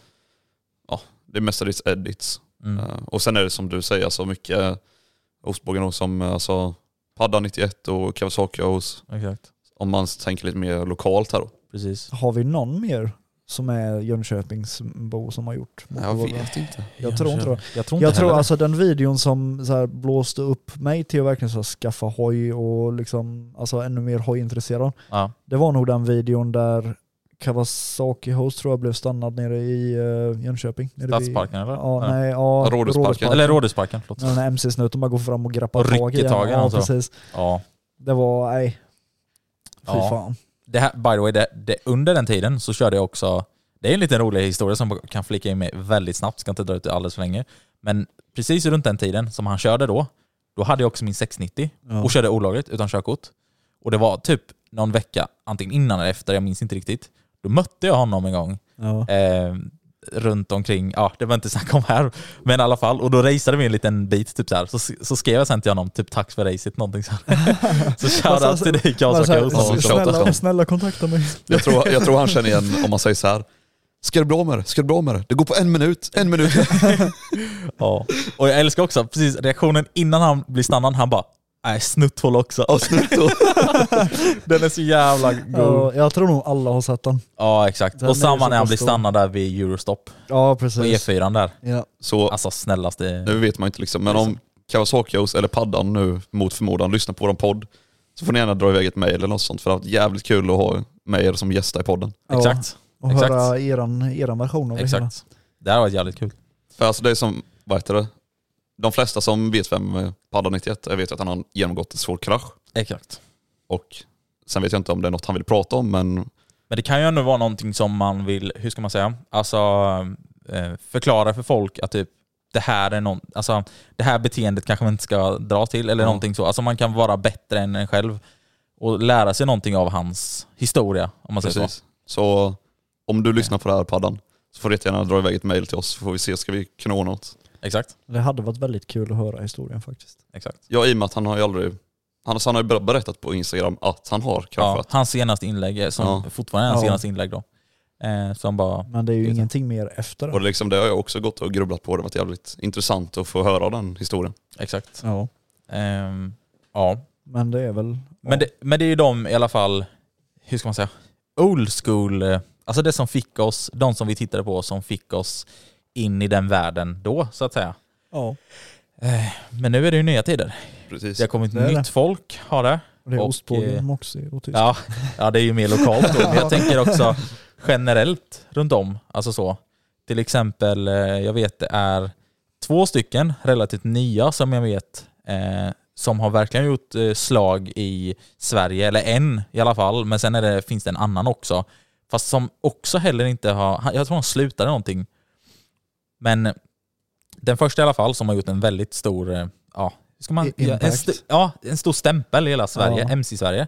C: det är mestadels edits.
B: Mm.
C: Eh, och sen är det som du säger, alltså mycket eh, ostbågen och som eh, alltså, Padda 91 och Kawasaki hos
B: Exakt.
C: om man tänker lite mer lokalt här då.
B: Precis.
D: Har vi någon mer som är Jönköpingsbo som har gjort
C: Jag
D: motorvågar?
C: vet inte.
D: Jag tror inte det.
B: Jag tror inte
D: Jag tror
B: heller det.
D: alltså den videon som så här blåste upp mig till att verkligen så här skaffa hoj och liksom, alltså ännu mer hojintresserad.
B: Ja.
D: Det var nog den videon där Kawasaki Host tror jag blev stannad nere i uh, Jönköping. Nere vid-
B: Stadsparken eller?
D: Ja, nej, ja,
C: Rådhusparken.
B: Eller Rådhusparken, förlåt.
D: När den här MC-snuten bara går fram och grappar
B: Och rycker
D: tag i den.
B: tag i den,
D: ja,
B: alltså.
D: precis.
B: Ja.
D: Det var, nej. Fy
B: Ja.
D: fan.
B: Det här, by the way, det, det, under den tiden så körde jag också, det är en liten rolig historia som kan flika in med väldigt snabbt, ska inte dra ut det alldeles för länge. Men precis runt den tiden som han körde då, då hade jag också min 690
D: Ja.
B: och körde olagligt utan körkort. Och det var typ någon vecka, antingen innan eller efter, jag minns inte riktigt. Då mötte jag honom en gång
D: Ja.
B: eh, runt omkring, ja det var inte snack om här, men i alla fall. Och då raceade vi en liten bit, typ så, här. så, så skrev jag sen till honom, typ tack för racet, någonting så här. så shoutout till dig
D: Bara så här,
B: Kawasaki Host.
C: så-
D: Alltså,
C: shoutout,
D: snälla,
C: shoutout.
D: snälla kontakta mig.
C: Jag tror, jag tror han känner igen om man säger så här. Ska det bli av med det? Ska det bli av med det? Det går på en minut, en minut.
B: Ja. Och jag älskar också precis reaktionen innan han blir stannad, han bara Nej, snutthål också. Och snutthål. Den är så jävla god.
D: Ja, jag tror nog alla har sett den.
B: Ja, exakt.
D: Den är
B: Och samma
D: så
B: när han blir
D: stor.
B: stannad där vid Eurostop.
D: Ja,
B: På
D: precis.
B: E4 där.
D: Ja.
C: Så
B: Alltså snällaste...
C: nu vet man inte liksom, men om Kawasakios eller Paddan nu mot förmodan lyssnar på vår podd så får ni gärna dra iväg ett mejl eller något sånt för det har varit jävligt kul att ha med er som gästa i podden.
B: Exakt.
D: Och
B: Exakt.
D: höra eran, eran version av det hela.
B: Exakt. Det här var jävligt kul.
C: För alltså det är som, vad heter det? De flesta som vet vem eh, Paddan 91 är vet ju att han har genomgått en svår krasch
B: Exakt.
C: och sen vet jag inte om det är något han vill prata om men
B: Men det kan ju ändå vara någonting som man vill, hur ska man säga, alltså eh, förklara för folk att typ det här är någon, alltså det här beteendet kanske man inte ska dra till eller
C: Ja.
B: någonting så. Alltså man kan vara bättre än en själv och lära sig någonting av hans historia om man säger så.
C: precis. Så om du lyssnar på det här Paddan så får du jättegärna dra iväg ett mejl till oss så får vi se, ska vi kunna ordna något?
B: Exakt.
D: Det hade varit väldigt kul att höra historien faktiskt.
B: Exakt.
C: Ja i och med att han har ju aldrig, han, han har ju ber- berättat på Instagram att han har
B: Ja,
C: kraschat.
B: hans senaste inlägg, är- som
C: Ja.
B: fortfarande är hans
D: Ja.
B: senaste inlägg då. Eh, som bara,
D: Men det är ju
B: Just det.
D: ingenting mer efter
C: Och
D: det.
C: det, är liksom, det har jag också gått och grubblat på, det har varit jävligt intressant att få höra den historien.
B: exakt.
D: Ja.
B: Ehm, ja.
D: Men det är väl...
B: Men, det, men det är ju de i alla fall, hur ska man säga, old school, eh, alltså det som fick oss, de som vi tittade på som fick oss in i den världen då så att säga.
D: Ja.
B: Men nu är det ju nya tider.
C: Precis.
B: Det har kommit
D: Det är
B: nytt
D: det.
B: folk, har det.
D: Och det är
B: Och,
D: ostbågen,
B: eh,
D: moxie och tysk.
B: Ja, ja, det är ju mer lokalt då. Men jag tänker också generellt runt om, alltså så. Till exempel, eh, jag vet det är två stycken relativt nya som jag vet eh, som har verkligen gjort eh, slag i Sverige, eller en i alla fall, men sen är det, finns det en annan också. Fast som också heller inte har, han- jag tror han slutade någonting. Men den första i alla fall som har gjort en väldigt stor, eh, ja, hur ska man,
D: I-
B: ja, en,
D: impact.
B: st- ja, en stor stämpel i hela Sverige,
D: Ja.
B: MC-Sverige.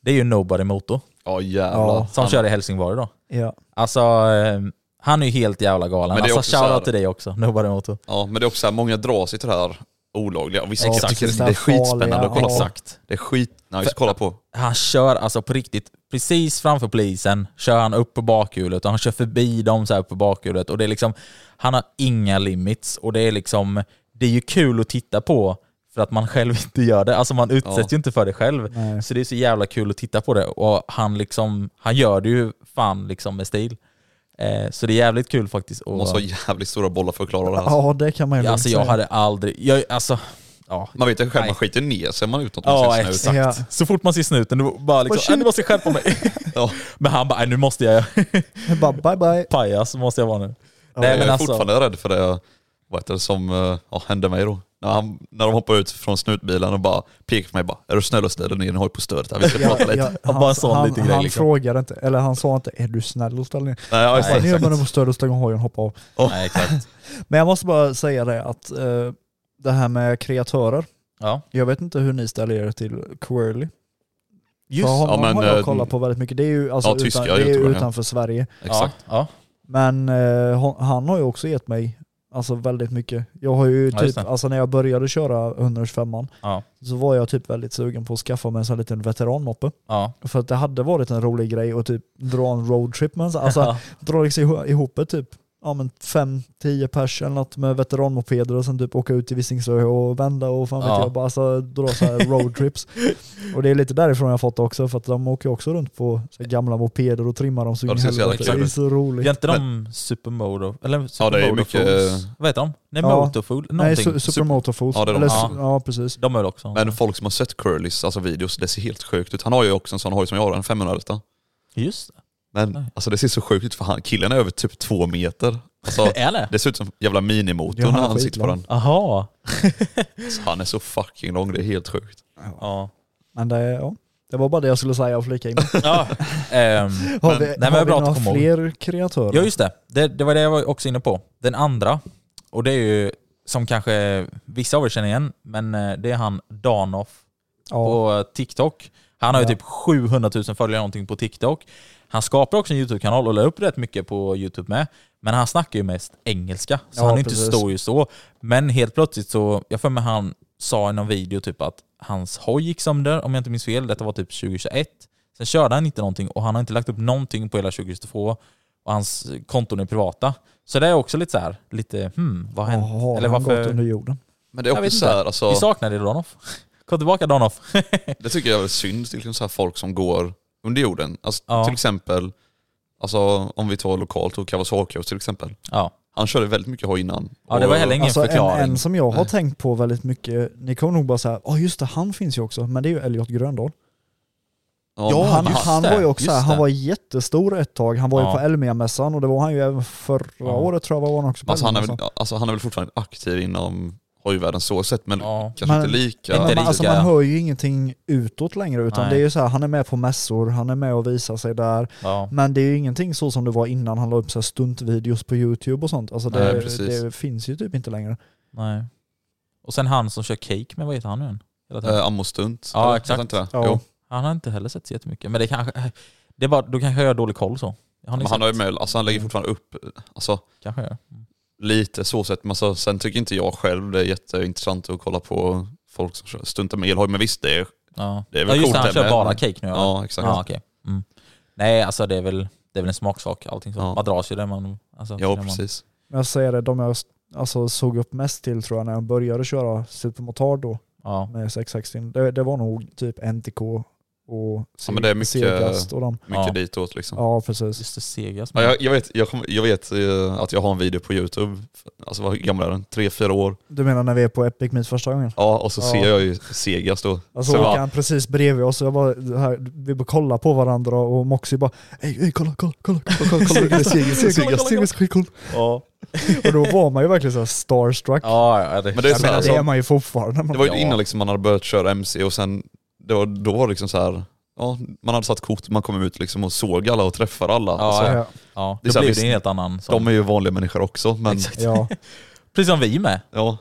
B: Det är ju Nobody Moto
C: Ja jävlar.
D: Ja,
B: som
C: Han-
B: kör i Helsingborg då.
D: Ja.
B: Alltså, eh, han är ju helt jävla galen.
C: Men det är
B: Alltså
C: också så här-
B: shoutout till dig också, Nobody Moto.
C: Ja, men det är också så här, många drar sig till det här olagliga. Och vissa
B: Ja,
C: jag tycker
D: precis.
C: det är skitspännande att kolla på.
B: Exakt.
C: Det är skitnice att kolla på.
B: Han kör alltså på riktigt, precis framför polisen kör han upp på bakhjulet och han kör förbi dem så här på bakhjulet och det är liksom, han har inga limits och det är liksom, det är ju kul att titta på för att man själv inte gör det. Alltså man utsätts
C: Ja.
B: ju inte för det själv.
D: Nej.
B: Så det är så jävla kul att titta på det och han liksom, han gör det ju fan liksom med stil. Eh, så det är jävligt kul faktiskt. att-
C: Man måste ha jävligt stora bollar för att klara det här.
D: ja, det kan man ju
B: Ja,
D: lugnt
B: alltså jag
D: säga.
B: hade aldrig, jag, alltså, ja.
C: Man vet ju själv,
B: Nej.
C: man skiter ner sig om man är ute något man
B: Ja
C: ska snusa.
B: exakt.
D: Ja.
B: Så fort man ser snuten, då bara liksom, "Äh, nu måste jag skärpa mig.
C: Ja.
B: Men han bara, "Äh, nu måste jag,
D: Jag bara bye bye.
B: pajas måste jag vara nu.
C: Jag
B: Nej men
C: är
B: alltså,
C: fortfarande rädd för det, vad heter det som eh, ja, hände mig då. När, han, när de hoppar ut från snutbilen och bara pekar på mig bara, är du snäll och ställer ner din hoj på stödet här, vi ska prata lite.
B: Ja, bara en sån
D: han,
B: liten grej,
D: han
B: liksom.
D: frågade inte, eller han sa inte är du snäll och ställ ner.
C: Nej, ja, just det,
D: Nej, nu gör man
C: exakt.
D: det på stöd och stänger hojen och hoppar av.
B: nej exakt.
D: Men jag måste bara säga det att eh, det här med kreatörer,
B: Ja.
D: jag vet inte hur ni ställer er till Quirly.
B: Just
D: För honom
C: Ja, men,
D: har jag
C: eh,
D: kollat på väldigt mycket. Det är ju alltså,
C: ja,
D: utan,
C: tyska
D: det är ju
C: youtubern, ja.
D: utanför Sverige.
B: Ja,
C: Exakt.
B: ja.
D: Men eh, hon- han har ju också gett mig alltså, väldigt mycket. Jag har ju
B: Ja, just
D: typ,
B: det.
D: alltså när jag började köra 125an
B: Ja.
D: så var jag typ väldigt sugen på att skaffa mig en sån här liten veteranmoppe.
B: ja.
D: För alltså, att det hade varit en rolig grej att typ dra en roadtrip med en sån, alltså dra liksom ihop- ihop ett typ, ja, ja men 5-10 pers eller något med veteranmopeder och sen typ åka ut till Visingsö och vända och fan vet
B: Ja.
D: jag, bara alltså, dra så här roadtrips. och det är lite därifrån jag har fått det också för att de åker ju också runt på så här gamla mopeder och trimmar dem så
C: Ja,
D: in
C: det
D: i
C: ser så jävla
D: helvete. Det
C: kul
D: är
C: ut.
D: så roligt.
B: Gör inte de Supermoto... Eller
C: Ja det är
B: Supermoto
C: mycket,
B: Fools?
C: eh,
B: Vad heter de? Nej,
D: Ja.
B: Motofool?
D: Nej,
B: Någonting.
D: su Supermotor
C: Ja, det är de.
D: Eller, ja.
B: Ja.
D: ja precis.
B: de är väl också...
C: men folk som har sett Curlys alltså videos, det ser helt sjukt ut. Han har ju också en sån hoj som jag har, en 500 -ta.
B: Just det.
C: Men
B: Nej.
C: alltså det ser så sjukt ut för han, killen är över typ två meter. Alltså,
B: Är det?
C: det ser ut som jävla minimotor
D: Ja,
C: när han
D: skitlång.
C: sitter på den.
B: Aha.
C: Alltså, han är så fucking lång, det är helt sjukt.
B: Ja.
D: Men det, ja. det var bara det jag skulle säga och flika in.
B: ja. ehm,
D: Har
B: men,
D: vi,
B: nej,
D: har
B: men
D: vi
B: bra att
D: några
B: komma ihåg.
D: fler kreatörer?
B: Ja just det. det. Det var det jag var också inne på. Den andra, och det är ju som kanske vissa av er känner igen, men eh, det är han Danoff
D: ja.
B: på TikTok. Han har ju
D: Ja.
B: typ 700 000 följare någonting på TikTok. Han skapar också en YouTube-kanal och la upp rätt mycket på YouTube med. Men han snackar ju mest engelska, så
D: Ja,
B: han är inte
D: precis.
B: stor just så. Men helt plötsligt så, jag för mig han sa i någon video typ att hans hoj gick sönder, om jag inte minns fel. Detta var typ 2021. Sen körde han inte någonting och han har inte lagt upp någonting på hela 2022. Och hans konton är privata. Så det är också lite så här, lite hmm, vad har hänt?
D: Jaha,
B: Eller
D: han gått
B: varför?
D: under jorden?
C: Men det är
B: Jag
C: också
B: vet
C: så här,
B: inte.
C: alltså,
B: Vi saknar dig Danoff. Kom tillbaka Danoff.
C: det tycker jag är synd, till exempel så här folk som går under jorden. Alltså,
B: Ja.
C: Till exempel, alltså, om vi tar lokalt och Kawasaki till exempel.
B: ja.
C: Han körde väldigt mycket hoj innan.
B: Ja, det var heller ingen
D: Alltså en,
B: förklaring.
D: en som jag har tänkt på väldigt mycket, ni kommer nog bara säga, ja just det, han finns ju också, men det är ju Elliot Gröndal.
C: Ja,
B: Ja,
D: han,
B: just
D: han
B: det,
D: var ju också
B: just
D: här, han
B: det.
D: var jättestor ett tag, han var
B: Ja.
D: ju på Elmia-mässan och det var han ju även förra
B: Ja.
D: året tror jag var han också på
C: Alltså han, är väl,
D: Elmia-mässan.
C: alltså han är väl fortfarande aktiv inom hojvärlden så sett, men
B: Ja.
C: kanske
D: Men-
C: inte
B: Inte
C: lika.
D: men,
B: riktigt.
D: man- alltså, man hör ju ingenting utåt längre utan
B: Nej.
D: det är ju så här, han är med på mässor, han är med och visar sig där.
B: Ja.
D: Men det är ju ingenting så som det var innan han la upp så här stuntvideos på YouTube och sånt. Alltså
C: Nej,
D: det,
C: precis.
D: det finns ju typ inte längre.
B: Nej. Och sen han som kör cake med, vad heter han nu än? Hela tiden.
C: Eh, Ammo Stunt.
B: Ja,
C: eller? Jag
B: exakt.
C: vet Inte.
D: Ja.
C: Jo.
B: Han har inte heller sett så jättemycket. Men det kanske... Det är bara, då kanske jag har dålig koll så. Har ni
C: Men han, har ju
B: sett?
C: med, alltså han lägger fortfarande upp alltså,
B: Kanske jag.
C: lite så sett. Men alltså, sen tycker inte jag själv det är jätteintressant att kolla på folk som kör- stuntar med elhoj. Men visst, det är,
B: Ja.
C: Det är väl
B: ja just
C: coolt
B: det, han
C: det
B: kör
C: med.
B: bara cake nu. Ja,
C: ja exakt.
B: ja
C: Ja,
B: okej. Mm. Nej, alltså det är väl, det är väl en smaksak allting så.
C: Ja.
B: Man dras ju där man... Alltså, där man,
C: precis.
D: Men jag säger det, de jag alltså, såg upp mest till tror jag när jag började köra supermotard då
B: Ja.
D: med 660, det, det var nog typ NTK och
C: Ja, men det är mycket-
D: Segast och de.
C: Mycket
B: Ja.
C: ditåt liksom. Ja.
D: Ja precis.
B: Just det, Segas.
C: jag, jag vet, jag, kommer- jag vet eh, att jag har en video på Youtube, alltså vad gammal är den? Tre, fyra år.
D: Du menar när vi är på Epic Meet första gången?
C: Ja, och så
D: Ja.
C: ser jag ju Segas då.
D: Alltså
C: så
D: så
C: jag bara,
D: åker han precis bredvid oss och jag bara, det här, vi bara kollar på varandra och Moxie bara Ej, ej kolla, kolla, kolla, kolla, kolla, kolla, kolla, Segas,
B: kolla,
D: Segas, Segas, skitcool.
B: Ja.
D: Och då var man ju verkligen såhär starstruck.
B: Ja, ja, det,
C: Men det är
D: Jag
C: så
D: menar,
C: här,
D: det
C: alltså,
D: är man ju fortfarande.
C: Det var ju
B: Ja.
C: innan liksom man hade börjat köra MC och sen, det var, då var det liksom så här, ja, man hade satt kort, man kom ut liksom och såg alla och träffade alla.
B: Ja,
C: alltså,
D: ja,
B: ja.
C: Det är
B: Då
C: så här,
B: blir
C: visst,
B: det en helt annan sak.
C: De är ju vanliga människor också, men,
B: Exakt.
D: ja,
B: Precis som vi med.
C: ja.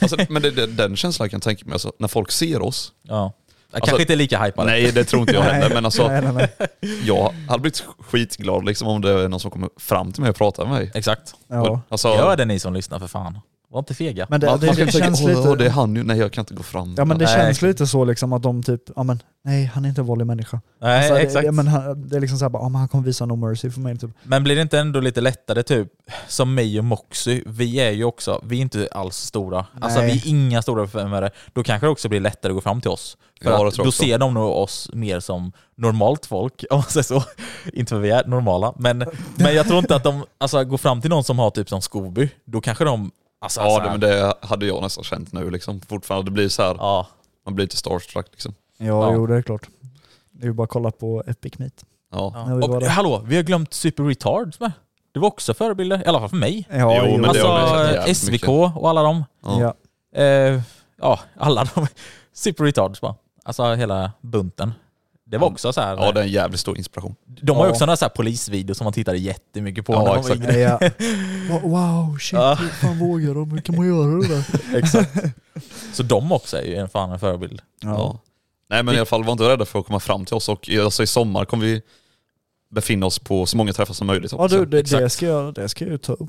C: Alltså, men det, det, den känslan kan jag tänka mig, alltså, när folk ser oss.
B: Ja. kanske inte lika hypade.
C: Alltså, Nej det tror inte jag heller, men alltså,
D: nej, nej, nej.
C: jag hade blivit skitglad liksom, om det är någon som kommer fram till mig och pratar med mig.
B: Exakt.
D: Ja.
C: Alltså,
B: Gör det ni som lyssnar för fan. Var inte fega.
D: Men det,
C: man, man
D: det,
C: kan
D: det
C: tänka,
D: känns
C: "Åh, åh, det är
D: lite,
C: han ju, nej jag kan inte gå fram.
D: ja men det
B: Nej,
D: känns
B: exakt.
D: lite så liksom att de typ, ja men nej han är inte en vanlig människa.
B: Nej,
D: Alltså, det-
B: exakt.
D: Det, men han, det är liksom såhär bara, ja men han kommer visa no mercy för mig typ.
B: Men blir det inte ändå lite lättare typ, som mig och Moxy, vi är ju också, vi är inte alls stora. Alltså
D: Nej.
B: vi är inga stora förvärvare. Då kanske det också blir lättare att gå fram till oss. För
C: Ja, det
B: att,
C: tror jag
B: då
C: också.
B: ser de nog oss mer som normalt folk, om man säger så. inte för vi är normala, men, men jag tror inte att de, alltså går fram till någon som har typ som Scooby, då kanske de, alltså,
C: Ja,
B: så
C: det,
B: här-
C: men det hade jag nästan känt nu liksom. Fortfarande, det blir så här,
B: ja.
C: man blir lite starstruck liksom.
D: Ja,
B: Ja.
D: jo det är klart. Det är ju bara att kolla på Epic Meet.
C: Ja.
B: ja.
D: Ja, vi var
B: Och,
D: där.
B: hallå, vi har glömt Super Retards med. Det var också förebilder, i alla fall för mig.
D: Ja,
C: Jo, men det
B: alltså
C: har jag missat jävligt
B: SVK
C: mycket.
B: och alla de.
C: Ja.
D: ja.
B: Eh, ja, alla de. Super retards bara. Alltså hela bunten. Det var också så här.
C: Ja, det är en jävligt stor inspiration.
B: de har ju
D: ja.
B: också några så här polisvideor som man tittade jättemycket på.
C: Ja,
B: när man var
C: exakt.
B: yngre.
D: Ja. Wow, shit,
B: Ja.
D: hur fan vågar de? Hur kan man göra det där?
B: Så de också är ju en fan en förebild.
C: Ja. Nej men i alla fall, var inte rädda för att komma fram till oss och i- alltså, i sommar kommer vi befinna oss på så många träffar som möjligt.
D: Ja du, det, det,
B: Exakt.
D: ska jag, det ska jag ju ta upp.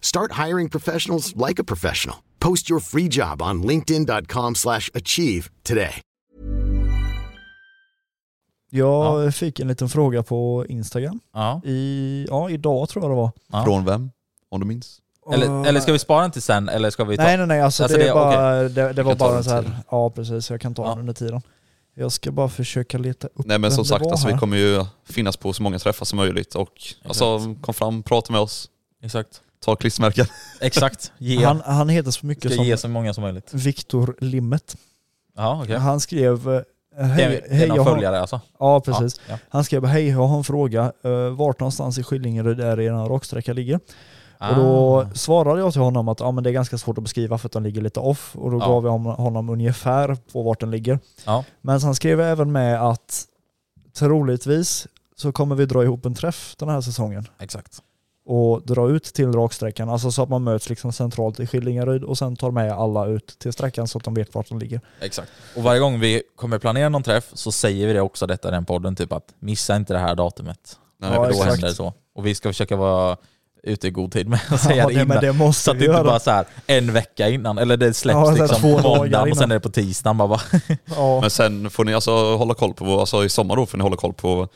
E: Start hiring professionals like a professional. Post your free job on linkedin.com/achieve slash achieve today.
D: Jag fick en liten fråga på Instagram.
B: Ja.
D: I, ja, idag tror jag det var.
B: Ja.
C: Från vem? Om du minns?
B: Eller, eller ska vi spara den till sen, eller ska vi ta...
D: Nej nej nej, alltså,
B: Alltså,
D: det,
B: det-
D: är bara, det, det var
B: kan ta
D: bara
B: den
D: så här.
B: tiden.
D: ja precis, jag kan ta
B: Ja.
D: den under tiden. Jag ska bara försöka leta upp
C: Nej men
D: vem
C: som
D: det
C: sagt,
D: var
C: alltså, vi
D: här.
C: kommer ju finnas på så många träffar som möjligt och alltså, kom fram, prata med oss,
B: Exakt.
C: ta klistermärken.
B: Exakt. Ge.
D: han, han heter så
B: ska
D: mycket
B: ge så
D: som
B: många som möjligt.
D: Viktor Limmet.
B: Ja, okej.
D: Han skrev... eh,
B: Det
D: Hej,
B: är- Det
D: hej,
B: är
D: jag
B: någon
D: har,
B: följare alltså?
D: ja, precis.
B: Ja.
D: Han skrev hej, jag har en fråga. Uh, vart någonstans i Skillingeryd är det eran raksträcka ligger?
B: Ah.
D: Och då svarade jag till honom att ja, men det är ganska svårt att beskriva för att den ligger lite off. Och då
B: Ja.
D: gav jag hon- honom ungefär på vart den ligger.
B: Ja.
D: Men han skrev även med att troligtvis så kommer vi dra ihop en träff den här säsongen
B: Exakt.
D: och dra ut till raksträckan, alltså så att man möts liksom centralt i Skillingaryd och sen tar med alla ut till sträckan så att de vet vart den ligger.
B: Exakt. Och varje gång vi kommer planera någon träff så säger vi det också detta i den podden, typ att missa inte det här datumet.
C: Nej,
D: Ja,
B: då
D: exakt.
B: händer det så. Och vi ska försöka vara ute i god tid med att säga det
D: nej, men
B: innan.
D: det måste
B: så att
D: vi
B: det inte
D: göra.
B: bara så här en vecka innan, eller det släpps
D: Ja, så här två
B: liksom
D: dagar
B: måndagen och sen
D: innan.
B: är det på tisdagen. Man bara,
D: Ja,
C: Men sen får ni alltså hålla koll på, vår- alltså i sommar då får ni hålla koll på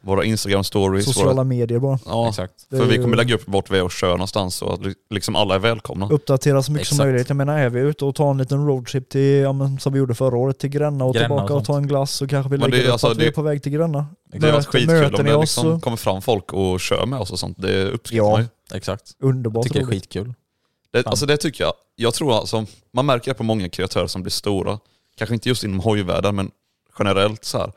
C: våra Instagram stories.
D: sociala
C: våra,
D: medier bara.
C: ja,
B: Exakt.
D: Det
C: För
D: är
C: vi
D: ju-
C: kommer lägga upp vart vi är och kör någonstans så att li- liksom alla är välkomna.
D: Uppdatera så mycket som
B: Exakt.
D: möjligt. Jag menar är vi ute och tar en liten roadtrip till, ja, men, som vi gjorde förra året, till Gränna och
B: Gränna och
D: tillbaka
B: sånt.
D: och, ta en glass så kanske vi
C: Men det
D: lägger
C: är
D: upp
C: alltså-
D: att vi
C: det-
D: är på väg till Gränna.
C: Det har varit
D: Möten-
C: skitkul om
D: möten i
C: det
D: oss
C: liksom
D: och-
C: kommer fram folk och kör med oss och sånt. Det uppskattar
D: Ja.
C: man ju.
B: Exakt.
D: Underbart
B: Tycker det är
D: roligt.
B: skitkul.
C: Det,
B: Fan.
C: alltså det tycker jag. Jag tror alltså, man märker det på många kreatörer som blir stora. Kanske inte just inom hojvärlden men generellt så här.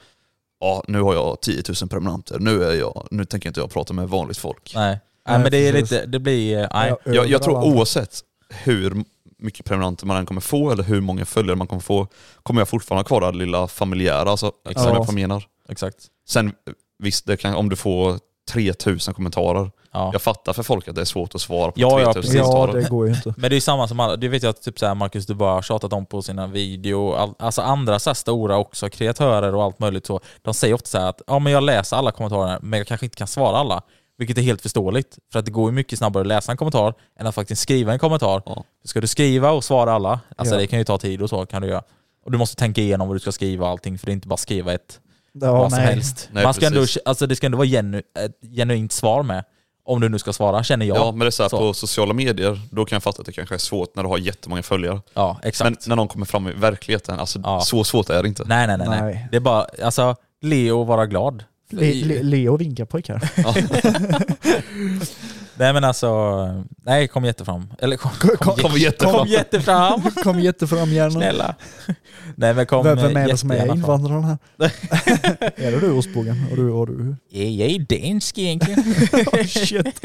C: Ja, nu har jag 10 000 prenumeranter. Nu, är jag, nu tänker inte jag prata med vanligt folk.
B: Nej. Nej, men det är
D: precis.
B: lite, det blir, eh, nej.
D: Ja,
C: Jag, jag tror
D: överallt.
C: oavsett hur mycket prenumeranter man än kommer få eller hur många följare man kommer få kommer jag fortfarande ha kvar det här lilla familjära. Alltså,
B: Exakt.
C: som jag förmenar.
B: Exakt.
C: Sen visst, det kan, om du får 3000 kommentarer.
B: Ja.
C: Jag fattar för folk att det är svårt att svara på
B: Ja, ja,
C: 3000
B: precis.
D: Ja,
C: kommentarer.
D: det går ju inte.
B: Men det är ju samma som alla, det vet jag typ såhär Marcus du bara har tjatat om på sina video, all, alltså andra så här stora också, kreatörer och allt möjligt så. De säger ofta såhär att ja men jag läser alla kommentarer men jag kanske inte kan svara alla. Vilket är helt förståeligt, för att det går ju mycket snabbare att läsa en kommentar än att faktiskt skriva en kommentar.
C: Ja.
B: Ska du skriva och svara alla, alltså
D: Ja.
B: det kan ju ta tid och så kan du göra. Och du måste tänka igenom vad du ska skriva och allting för det är inte bara skriva ett
D: Ja,
B: vad som
D: nej.
B: helst.
C: Nej,
B: Man ska ändå,
C: precis.
B: alltså det ska ändå vara genu, ett genuint svar med. Om du nu ska svara känner jag.
C: Ja, men det är så här,
B: Så.
C: på sociala medier, då kan jag fatta att det kanske är svårt när du har jättemånga följare.
B: Ja, exakt.
C: Men när någon kommer fram i verkligheten, alltså
B: Ja.
C: så svårt är det inte.
B: Nej, nej, nej, nej.
D: Nej.
B: Det är bara, alltså, le och vara glad.
D: Le, le, Leo vinkar pojkar.
C: Ja.
B: Nej men alltså, nej kom jättefram. Eller kom, kom,
D: kom-
B: jä-
C: kom
B: Kom
C: jättefram.
B: jättefram.
D: Kom jättefram gärna.
B: Snälla. Nej men kom eh,
D: Vem, vem är det som är
B: jättegärna fram.
D: invandraren här? är det du Ostbågen? Och du, och du?
B: Är jag dansk egentligen?
D: Oh,
B: Oh,
D: Shit.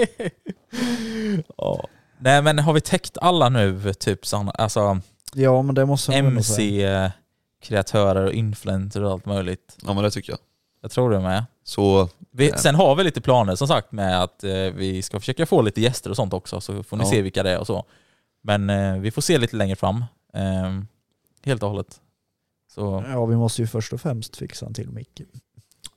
B: Ja. Nej men har vi täckt alla nu, typ såna, alltså
D: Ja men det måste man ändå säga.
B: MC-kreatörer och influencers och allt möjligt?
C: ja men det tycker jag.
B: Jag tror det med.
C: Så
B: Vi,
C: Ja.
B: Sen har vi lite planer som sagt med att eh, vi ska försöka få lite gäster och sånt också, så får ni
C: Ja.
B: se vilka det är och så. Men eh, vi får se lite längre fram. Ehm, helt och hållet. Så
D: Ja vi måste ju först och främst fixa en till mick.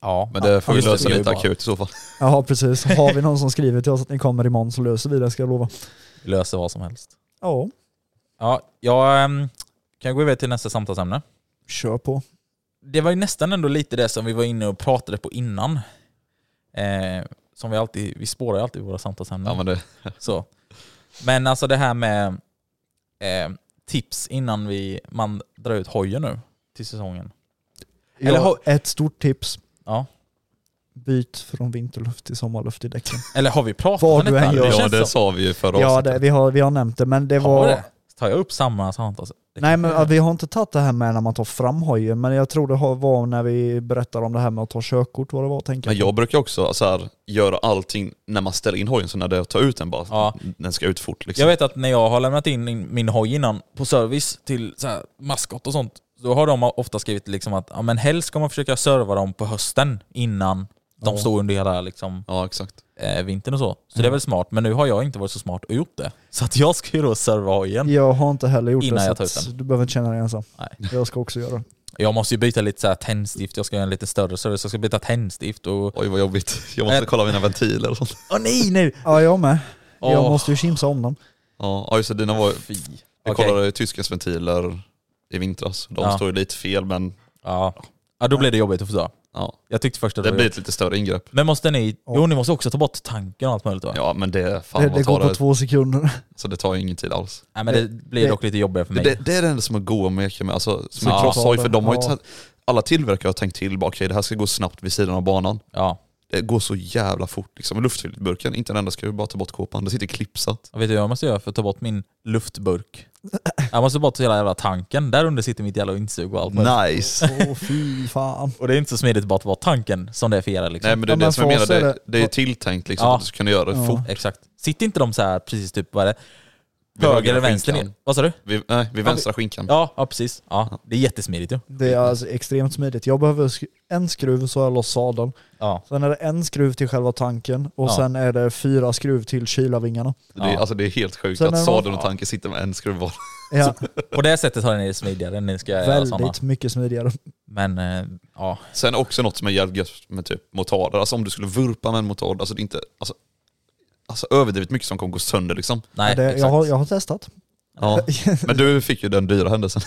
B: ja.
C: men det får vi
B: just
C: lösa
B: det,
C: lite
B: vi bara-
C: akut i så fall.
D: Ja precis, har vi någon som skriver till oss att ni kommer imorgon så löser vi det ska jag lova.
B: Vi löser vad som helst.
D: Ja,
B: Ja, jag ehm, kan gå över till nästa samtalsämne.
D: kör på.
B: Det var ju nästan ändå lite det som vi var inne och pratade på innan. Eh, som vi alltid, vi spårar ju alltid våra samtalsämnen.
C: Ja, men det,
B: Så. Men alltså det här med eh, tips innan vi, man drar ut hojen nu till säsongen.
D: Ja,
B: Eller har-
D: Ett stort tips,
B: Ja.
D: byt från vinterluft till sommarluft i däcken.
B: Eller har vi pratat
D: Vad
B: om
D: du
B: detta?
D: än gör.
B: Det
C: ja,
B: känns
C: det
B: som-
C: sa vi ju förra
D: Ja
C: avsnittet.
D: det, vi, har, vi har nämnt det men det
B: Har
D: var...
B: det? Tar jag upp samma Santas? Det
D: Nej
B: kan-
D: men ja, vi har inte tagit det här med när man tar fram hojen, men jag tror det har- var när vi berättade om det här med att ta körkort vad det var tänker
C: Men jag brukar också så här, göra allting när man ställer in hojen, så när det tar ut den bara,
B: Ja.
C: den ska ut fort liksom.
B: Jag vet att när jag har lämnat in min- min hoj innan på service till så här, maskot och sånt, då har de ofta skrivit liksom att ja, men helst ska man försöka serva dem på hösten innan de står under hela liksom,
C: Ja exakt.
B: eh, vintern och så. Så
D: Mm.
B: det är väl smart, men nu har jag inte varit så smart och gjort det. Så att jag ska ju då serva hojen.
D: Jag har inte heller gjort
B: Innan
D: det
B: jag tar
D: så
B: ut
D: att du behöver inte känna dig ensam.
B: Nej.
D: Jag ska också göra det.
B: Jag måste ju byta lite så här, tändstift, jag ska göra en lite större service, jag ska byta tändstift och...
C: Oj vad jobbigt. Jag måste
B: Ä-
C: kolla mina ventiler och sånt.
B: Åh nej, nej!
D: Ja jag med. Jag
B: Åh.
D: måste ju kimsa om dem.
C: Ja, ja, just det, dina var,
B: Fy.
C: jag
B: Okej.
C: kollade tyskens ventiler i vintras. De
B: Ja.
C: står ju lite fel men
B: Ja. ja, då blev det jobbigt att förstå.
C: ja,
B: Jag tyckte först att
C: det
B: det,
C: blir ett lite större ingrepp.
B: Men måste ni... Jo, ni måste också ta bort tanken och allt möjligt va?
C: Ja men det, fan,
D: Det,
C: vad
D: det
C: tar
D: går på
C: det?
D: två sekunder.
C: Så det tar ju ingen tid alls.
B: Nej men det, blir dock lite jobbigare för
C: Det,
B: mig.
C: det, det är det enda som är goa att meka med, alltså, som en
B: Ja.
C: crosshoj, för de har ju
D: Ja.
C: inte, alla tillverkare har tänkt till bara okej det här ska gå snabbt vid sidan av banan.
B: Ja.
C: Det går så jävla fort liksom. Luftfiltburken, inte en enda skruv, bara ta bort kåpan. Det sitter klipsat.
B: Och vet du vad jag måste göra för att ta bort min luftburk? Jag måste ta bort hela jävla tanken. Där under sitter mitt jävla insug och allt möjligt.
C: Nice!
D: Åh fy fan.
B: Och det är inte så smidigt bara att ta bort tanken som det är för er liksom.
C: Nej men det är
D: Ja, men
C: det som
D: för
C: jag
D: oss
C: menar,
D: är
C: det,
D: det-
C: det är ju tilltänkt liksom
B: Ja.
C: att du ska kunna göra det fort.
B: Exakt. Sitter inte de så här precis typ, vad är det?
C: Vid
B: Höger
C: högra
B: eller vänster
C: skinkan.
B: ner? Vad sa du?
C: Vid, nej, vid vänstra skinkan.
B: Ja, ja precis. Ja, det är jättesmidigt ju.
D: Det är alltså extremt smidigt. Jag behöver sk- en skruv så har jag loss sadeln.
B: Ja.
D: Sen är det en skruv till själva tanken och
B: Ja.
D: sen är det fyra skruv till kylarvingarna.
C: Det, är,
B: Ja.
C: alltså, det är helt sjukt
D: Sen är
C: att
D: det-
C: sadeln och tanken sitter med en skruv var.
D: Ja,
B: På det sättet har ni det smidigare än ni ska göra sådana.
D: väldigt mycket smidigare.
B: Men eh, ja,
C: Sen också något som är jävligt gött med typ motarder, alltså om du skulle vurpa med en motard, alltså det är inte, alltså, alltså överdrivet mycket som kommer gå sönder liksom.
B: nej.
D: det, jag,
B: exakt.
D: har, jag har testat.
C: Ja. Men du fick ju den dyra händelsen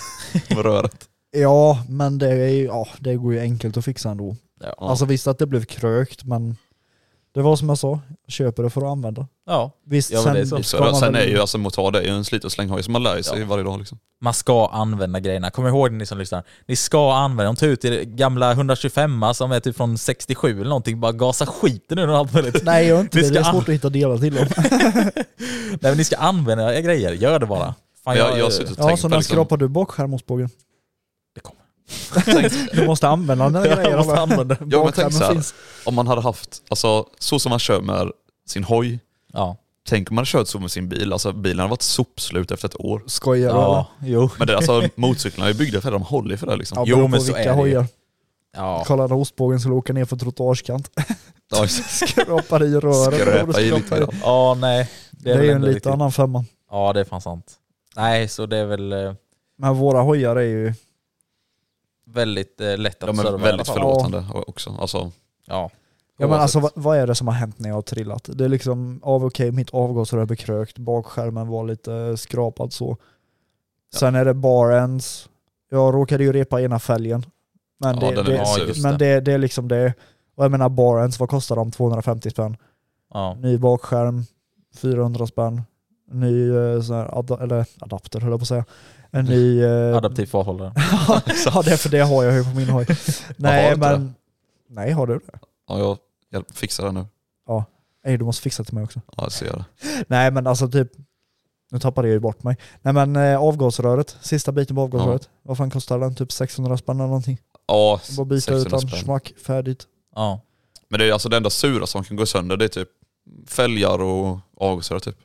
C: med röret.
D: Ja, men det, är, ju- ja, det går ju enkelt att fixa ändå.
B: Ja.
D: Alltså visst att det blev krökt, men det var som jag sa, köper det för att använda.
B: ja.
D: Visst,
B: Ja, men det är typ så.
D: sen ska
C: Så
D: man
C: sen
D: väl-
C: är ju alltså motard är ju en slit och släng som man lär sig varje dag liksom.
B: Man ska använda grejerna. Kom ihåg ni som lyssnar. Ni ska använda dem. Ta ut er gamla 125 som är typ från 67 eller någonting. Bara gasa skiten ur den och allt möjligt.
D: Nej, jag är inte
B: Ni
D: det. Det är
B: ska
D: svårt att hitta delar till dem.
B: Nej men ni ska använda era grejer, gör det bara. Fan,
C: Men jag, jag har suttit och
D: Ja,
C: tänkt
D: så
C: på
D: när
C: liksom,
D: skrapar du bort skärmhoppsbågen?
B: det kommer.
D: Du måste använda den där
B: Jag
D: grejen.
B: måste använda den.
C: Ja, men tänk
D: Bakskärmen
C: så här.
D: finns.
C: om man hade haft, alltså så som man kör med sin hoj,
B: Ja.
C: tänk om man hade kört så med sin bil, alltså bilen hade varit sopslut efter ett år.
D: Skojar du eller?
B: Ja, jo.
C: Men det, alltså motorcyklarna är ju byggda för det, de håller ju för det liksom.
D: Ja,
B: Jo,
D: jo,
B: men
D: men
B: så är det
D: vilka
B: ju.
D: hojar.
B: Ja.
D: Kolla när ostbågen skulle åka ner för trottoarskant.
C: Ja,
D: Skrapar i röret.
C: Skräpa i lite.
D: Det,
C: grann.
B: ja, nej.
D: det är
B: väl
D: ju en
B: ändå
D: lite
B: riktigt-
D: annan femma.
B: Ja, det är fan sant. Nej, så det är väl eh,
D: Men våra hojar är ju...
B: väldigt eh, lätt att
C: De
B: serva
C: är
B: i alla
C: väldigt
B: fall.
C: förlåtande också. Alltså,
B: Ja.
D: Ja men
B: Oavsett.
D: alltså vad, vad är det som har hänt när jag har trillat? Det är liksom, av okej mitt avgasrör blev krökt, bakskärmen var lite eh, skrapad så. Sen är det barends. Jag råkade ju repa ena fälgen. Men,
C: Ja,
D: det,
C: den är
D: det,
B: ja, just
D: men det, det är liksom det. Och jag menar barends, vad kostar de? 250 spänn.
B: Ja.
D: Ny bakskärm, 400 spänn. Ny eh, sån här ad, eller adapter höll jag på att säga. En ny... eh,
B: Adaptiv farhållare.
D: ja det är för det har jag ju på min hoj.
C: har
D: Nej
C: inte
D: men... Nej har du det?
C: Ja, jag, jag fixar det nu.
D: Nej du måste fixa till mig också.
C: Ja, jag ser det.
D: Nej men alltså typ, nu tappade jag ju bort mig. Nej men eh, avgasröret, sista biten på avgasröret. Vad fan kostar den? Typ 600 spänn eller någonting.
C: Ja,
D: Bara byta ut
C: 600
D: den,
C: spänn.
D: smack, färdigt.
B: Ja.
C: Men det är alltså det enda sura som kan gå sönder, det är typ fälgar och avgasrör typ.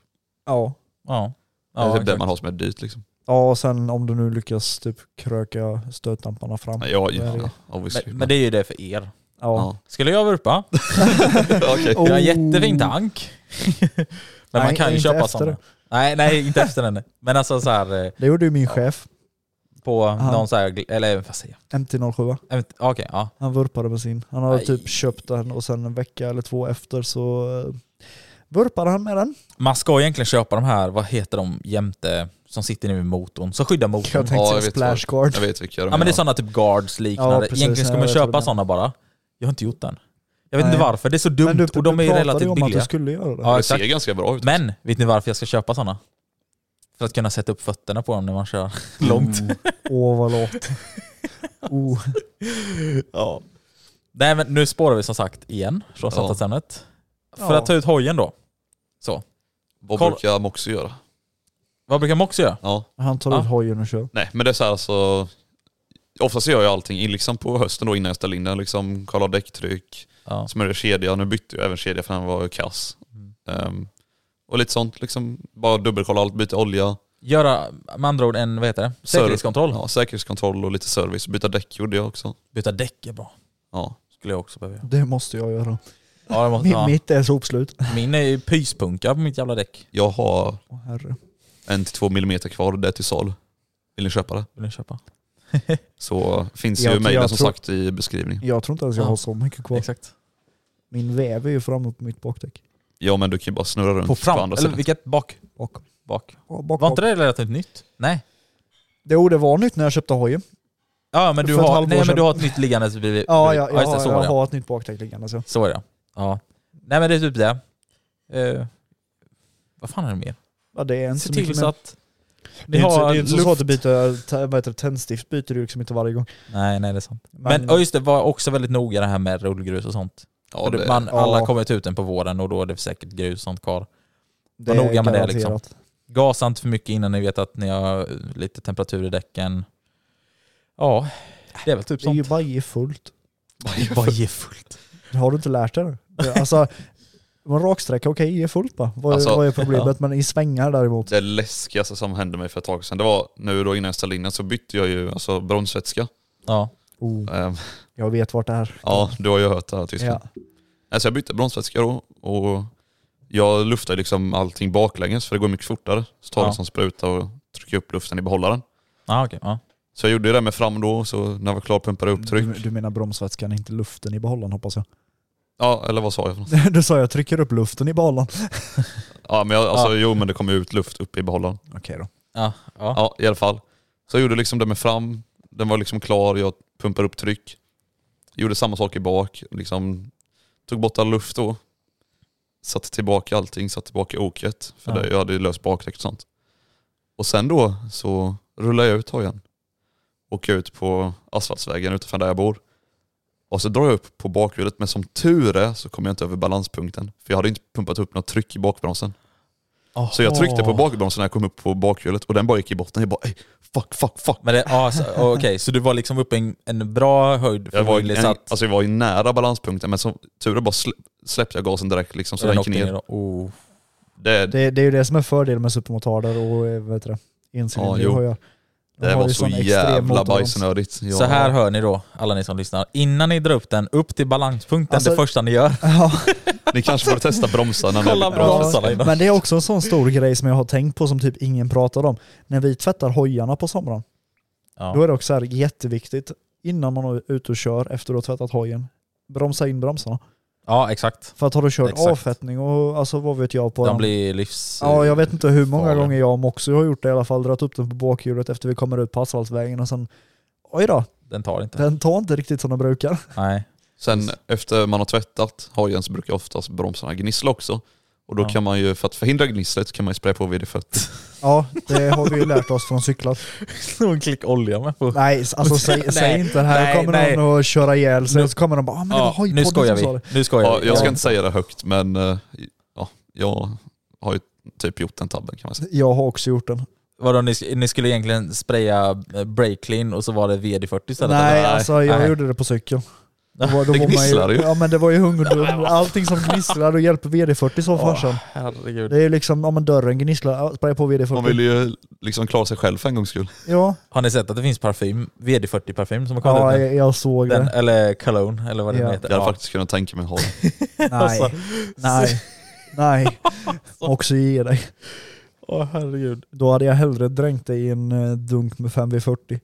D: Ja.
B: Ja.
C: det är
B: Ja,
C: typ det
B: exakt.
C: man har som är dyrt liksom.
D: Ja och sen om du nu lyckas typ kröka stötdamparna fram.
C: Nej, jag,
D: Ja, det är det.
C: ja, obviously.
B: men, men det är ju det för er.
D: Ja.
C: Ja.
B: Skulle jag vurpa?
C: Okej.
B: Jag har en
D: Oh.
B: jättefin tank. men man
D: Nej,
B: kan ju
D: inte
B: köpa
D: efter
B: sådana.
D: det.
B: Nej, nej, inte efter den. Men alltså så här eh,
D: Det gjorde ju min chef,
B: på
D: Aha.
B: någon så här, gl- eller vad säger jag?
D: MT-07.
B: Jag vet inte, Okej, ja.
D: Han vurpade med sin. Han hade
B: Aj.
D: typ köpt den och sen en vecka eller två efter så eh, vurpade han med den.
B: Man ska egentligen köpa de här, vad heter de jämte, som sitter nu i motorn, som skyddar motorn.
D: Jag
C: Ja,
D: tänkte säga
C: jag vet
D: splash guard.
C: Jag vet vilka de
B: Ja men det är sådana typ guards liknande.
D: Ja, precis.
B: Egentligen ska
D: Ja,
B: man
D: jag tror
B: köpa
D: det.
B: sådana bara. Jag har inte gjort den. Jag vet
D: Nej.
B: inte varför, det är så dumt
D: Men du,
B: och de är
D: du
B: ju
D: pratade
B: relativt
D: om att
B: billiga.
D: du skulle göra det.
B: Ja,
C: Det ser
B: exakt.
C: ganska bra ut.
B: Men vet ni varför jag ska köpa sådana? För att kunna sätta upp fötterna på dem när man kör långt.
D: Mm. Åh vad lågt. Oh.
B: Ja. Nej men nu spårar vi som sagt igen från
C: Ja.
B: samtalsämnet. För
D: Ja.
B: att ta ut hojen då. Så.
C: Vad
B: Kolla-
C: brukar Moxie göra?
B: Vad brukar Mox göra?
C: Ja.
D: Han tar
B: Ja.
D: ut hojen och kör.
C: Nej, men det är så här alltså... Oftast gör jag allting i- liksom på hösten då innan jag ställer in den. Liksom, kollar däcktryck,
B: Ja.
C: smörjer kedja. Nu bytte jag även kedja för den var ju kass.
B: Mm.
C: Ehm, och lite sånt. Liksom, bara dubbelkolla allt, byta olja.
B: Göra med andra ord en, vad heter det?
C: serv-
B: Säkerhetskontroll.
C: Ja, säkerhetskontroll och lite service. Byta däck gjorde jag också.
B: Byta däck är bra.
C: Ja.
B: Skulle jag också behöva göra.
D: Det måste jag göra.
B: Ja, det måste,
D: Min,
B: ja.
D: Mitt är sopslut.
B: Min är ju pyspunka på mitt jävla däck.
C: Jag har
D: Åh herre.
C: en till två millimeter kvar och det är till salu. Vill ni köpa det?
B: Vill ni köpa?
C: Så finns
D: Jag-
C: ju mejlen
D: jag
C: som
D: tror-
C: sagt i beskrivningen.
D: Jag tror inte ens jag
B: Ja.
D: har så mycket kvar.
B: Exakt.
D: Min väv är ju framme på mitt bakdäck.
C: Ja men du kan ju bara snurra runt
B: På fram,
C: andra
B: eller
C: sidan.
B: vilket? Bak?
D: Bak.
B: Bak.
D: Ja, bak,
B: Var
D: bak.
B: inte det relativt nytt? Nej.
D: Jo det var nytt när jag köpte hojen.
B: Ja men du
D: För ett
B: har,
D: halvår
B: nej, men
D: sedan.
B: du har ett nytt liggande bredvid.
D: Ja,
B: bredvid.
D: jag, jag,
B: just det,
D: har-
B: så
D: jag
B: var det.
D: har ett nytt bakdäck liggande. alltså. Så.
B: Så var det ja. Nej men det är typ det. Eh, vad fan är det mer?
D: Ja, det är inte
B: Se
D: så
B: till
D: mycket
B: så
D: mer.
B: att...
D: Det
B: Ni
D: är inte, så- det
B: har
D: är inte så
B: luft.
D: att du byter, t- vad heter det, tändstift byter du liksom inte varje gång.
B: Nej nej det är sant.
D: Men,
B: Men ja, just det, var också väldigt noga det här med rullgrus och sånt.
C: Ja,
B: För
C: det,
B: man, Alla
D: Ja.
B: kommer ut uten på våren och då är det säkert grus och sånt kvar.
D: det
B: var noga med det,
D: garanterat.
B: liksom. Gasa inte för mycket innan ni vet att ni har eh, lite temperatur i däcken. Ja, det är väl typ
D: Det är ju
B: sånt.
D: bara ge fullt.
B: Vad ge fullt.
D: Det har du inte lärt dig det? det? Alltså, en raksträcka, okej ge fullt bara. Vad,
C: Alltså,
D: vad är problemet? Men i svängar däremot.
C: det läskigaste som hände mig för ett tag sedan, det var nu då innan jag ställde in den så bytte jag ju alltså bromsvätska.
B: Ja.
D: Oh,
C: Ehm,
D: jag vet vart det är.
C: ja, du har ju hört det här Tyskland.
D: Ja.
C: Alltså jag bytte bromsvätska då och jag luftar liksom allting baklänges för det går mycket fortare. Så tar
B: Ja.
C: jag en sån spruta och trycker upp luften i behållaren.
B: Ah, okay, ja.
C: Så jag gjorde ju det med fram då, så när jag var klar pumpade jag upp tryck.
D: Du, du menar bromsvätskan, inte luften i behållaren hoppas jag.
C: Ja, eller vad sa jag för något?
D: Du sa jag trycker upp luften i behållaren.
C: Ja, men jag, alltså,
B: Ja.
C: jo men det kom ju ut luft upp i behållaren.
D: Okej då.
B: Ja, ja.
C: Ja, i alla fall. Så jag gjorde liksom det med fram, den var liksom klar, jag pumpade upp tryck. Gjorde samma sak i bak, liksom tog bort all luft då. Satte tillbaka allting, satte tillbaka oket, för
B: Ja.
C: det, jag hade ju löst bakdäck och sånt. Och sen då så rullade jag ut hojen. Åker ut på asfaltsvägen utanför där jag bor. Och så drar jag upp på bakhjulet, men som tur är så kom jag inte över balanspunkten. För jag hade inte pumpat upp något tryck i bakbromsen. Så jag tryckte på bakbromsen när jag kom upp på bakhjulet och den bara gick i botten. Jag bara "Ey, fuck, fuck, fuck.
B: Men det, ja, så- Okej, så du var liksom uppe i en, en bra höjd
C: Jag var, en,
B: förmodligen, så att
C: alltså jag var ju nära balanspunkten men som tur är bara slä, släppte jag gasen direkt liksom, så
B: den
C: den gick
B: åkte ner.
C: ner.
B: då. Oh.
C: Det, det,
D: Det, det är ju det som är fördelen med supermotarder och eh, vad heter det,
C: Ja, jo.
D: incylinderhojar. De har
C: var
D: ju
C: så
D: sån extrem
C: jävla
D: motordroms.
C: bajsnödigt. Jag,
B: Så här hör ni då, alla ni som lyssnar. Innan ni drar upp den, upp till balanspunkten
D: Alltså-
B: det första ni gör.
D: Ja,
C: Ni kanske borde testa bromsarna. när
B: Kolla
C: vi-
B: bra.
C: Ja.
B: Bromsarna innan.
D: men det är också en sån stor grej som jag har tänkt på som typ ingen pratar om. När vi tvättar hojarna på sommaren,
B: Ja.
D: då är det också så här jätteviktigt innan man är ute och kör efter att ha tvättat hojen. Bromsa in bromsarna.
B: ja, exakt.
D: För att har du kört
B: Exakt.
D: avfettning och alltså vad vet jag på
B: De
D: den.
B: blir livs...
D: Ja, jag vet inte hur många
B: farliga.
D: gånger jag och Moxie har gjort det i alla fall. Dragit upp den på bakhjulet efter vi kommer ut på asfaltsvägen och sen Oj då,
B: Den tar inte.
D: den tar inte riktigt som den brukar.
B: Nej.
C: Sen efter man har tvättat hojen så brukar oftast bromsarna gnissla också. Och då
B: Ja.
C: kan man ju, för att förhindra gnisslet så kan man ju spraya på VD40.
D: Ja, det har vi ju lärt oss från cyklar.
B: Någon klick olja med på.
D: Nej, alltså säg,
B: Nej,
D: säg inte det här.
B: nej,
D: kommer
B: nej.
D: någon och köra ihjäl sig
B: Nu-
D: och så kommer de bara ah, men det var
B: Ja,
D: hojpodden
B: nu skojar
D: som sa
B: vi.
D: det."
B: Nu skojar
C: Ja,
B: vi.
C: jag ska
B: Ja.
C: inte säga det högt men eh, ja, jag har ju typ gjort den tabben kan man säga.
D: Jag har också gjort den.
B: Vadå, ni, sk- ni skulle egentligen spraya eh, brake clean och så var det VD40 istället?
D: Nej,
B: eller?
D: alltså jag
B: Nej.
D: gjorde det på cykel. Då var, då
C: Det
D: var man
C: gnisslar ju.
D: Ja men det var ju hungerdom. Allting som gnisslar, då hjälper VD40 så farsan.
B: Herregud.
D: Det är ju liksom, om en dörren gnisslar, ja, spraya på
C: Man
D: VD40.
C: vill ju liksom klara sig själv för en gångs skull.
D: Ja,
B: Har ni sett att det finns parfym? VD40-parfym som har kommit
D: ja
B: ut nu?
D: jag, jag såg
B: Den,
D: det.
B: eller cologne, eller vad det
D: Ja.
B: nu
C: Jag
B: heter.
C: hade faktiskt kunnat tänka mig ha det.
D: Nej, nej, nej. Också ge dig.
B: Åh herregud.
D: Då hade jag hellre dränkt dig i en eh, dunk med 5V40.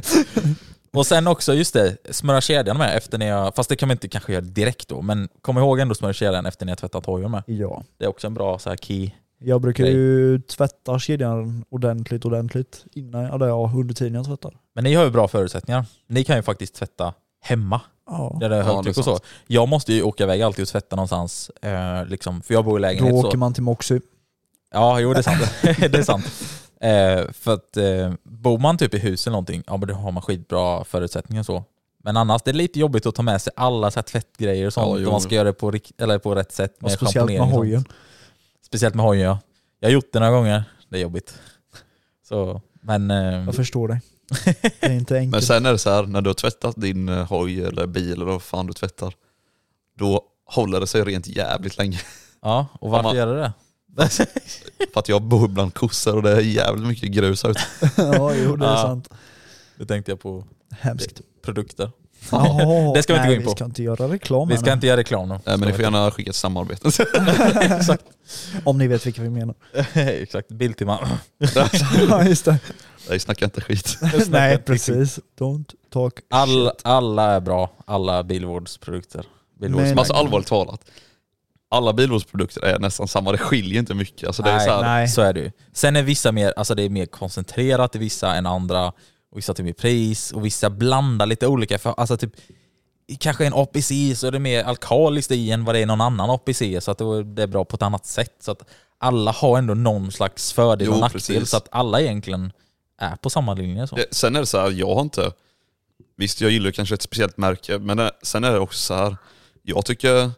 B: och sen också, just det, smörja kedjan med efter ni har, fast det kan man inte kanske göra direkt då, men kom ihåg ändå att smörja kedjan efter ni har tvättat hojen med.
D: Ja.
B: Det är också en bra så här key.
D: Jag brukar
B: Grej.
D: ju tvätta kedjan ordentligt, ordentligt innan, eller ja, under tiden jag tvättar.
B: Men ni har ju bra förutsättningar. Ni kan ju faktiskt tvätta hemma,
D: Ja.
B: där det är
C: Ja, det är
B: högtryck och så.
C: sant.
B: Jag måste ju åka iväg alltid och tvätta någonstans, eh, liksom, för jag bor i
D: Då
B: lägenhet. så.
D: åker man till Moxie.
B: Ja, jo det är sant. det är sant. Eh, för att eh, bor man typ i hus eller någonting, ja men då har man skitbra förutsättningar och så. Men annars, det är lite jobbigt att ta med sig alla så här tvättgrejer och sånt.
C: Ja, jo.
B: och man ska göra det på, rikt- eller på rätt sätt.
D: Och speciellt med
B: schamponering och sånt.
D: hojen.
B: Speciellt med hojen ja. Jag har gjort det några gånger, det är jobbigt. Så, men... eh,
F: Jag förstår dig. Det är inte
C: Men
F: enkelt.
C: sen är det så här, när du har tvättat din eh, hoj eller bil eller vad fan du tvättar, då håller det sig rent jävligt länge.
B: Ja, och varför
C: Om man-
B: gör det det?
C: För att jag bor bland kossor och det är jävligt mycket grus här ute.
F: ja, jo, det är
B: Ja.
F: sant.
B: Det tänkte jag på
F: Hemskt.
B: produkter.
F: Jaha,
B: Det ska vi
F: nej,
B: inte gå in
F: Vi
B: på.
F: ska inte göra reklam
B: Vi
F: här
B: ska
F: nu.
B: inte göra reklam nu.
C: Nej, Eh, men ni
B: Ska
C: får
B: vi
C: gärna skicka ett samarbete.
F: Om ni vet vilka vi menar.
B: inte. Exakt, Biltema.
F: ja, just det.
C: Nej, snacka inte skit.
F: nej, precis. Don't talk
B: typ- All,
F: shit.
B: alla är bra, alla bilvårdsprodukter.
F: Men-
C: Men alltså allvarligt talat, alla bilvårdsprodukter är nästan samma, det skiljer inte mycket. Alltså, det är
B: nej,
C: så här,
B: nej. så är det ju. Sen är vissa mer, alltså det är mer koncentrerat i vissa än andra, och vissa till mer pris, och vissa blandar lite olika. För, alltså typ, i kanske en APC så är det mer alkaliskt i än vad det är i någon annan APC, så att då är det är bra på ett annat sätt. Så att alla har ändå någon slags fördel
C: Jo,
B: och nackdel,
C: precis.
B: så att alla egentligen är på samma linje. Så.
C: Ja, Eh, Sen är det så här, jag har inte... Visst, jag gillar kanske ett speciellt märke, men det, sen är det också så här, jag tycker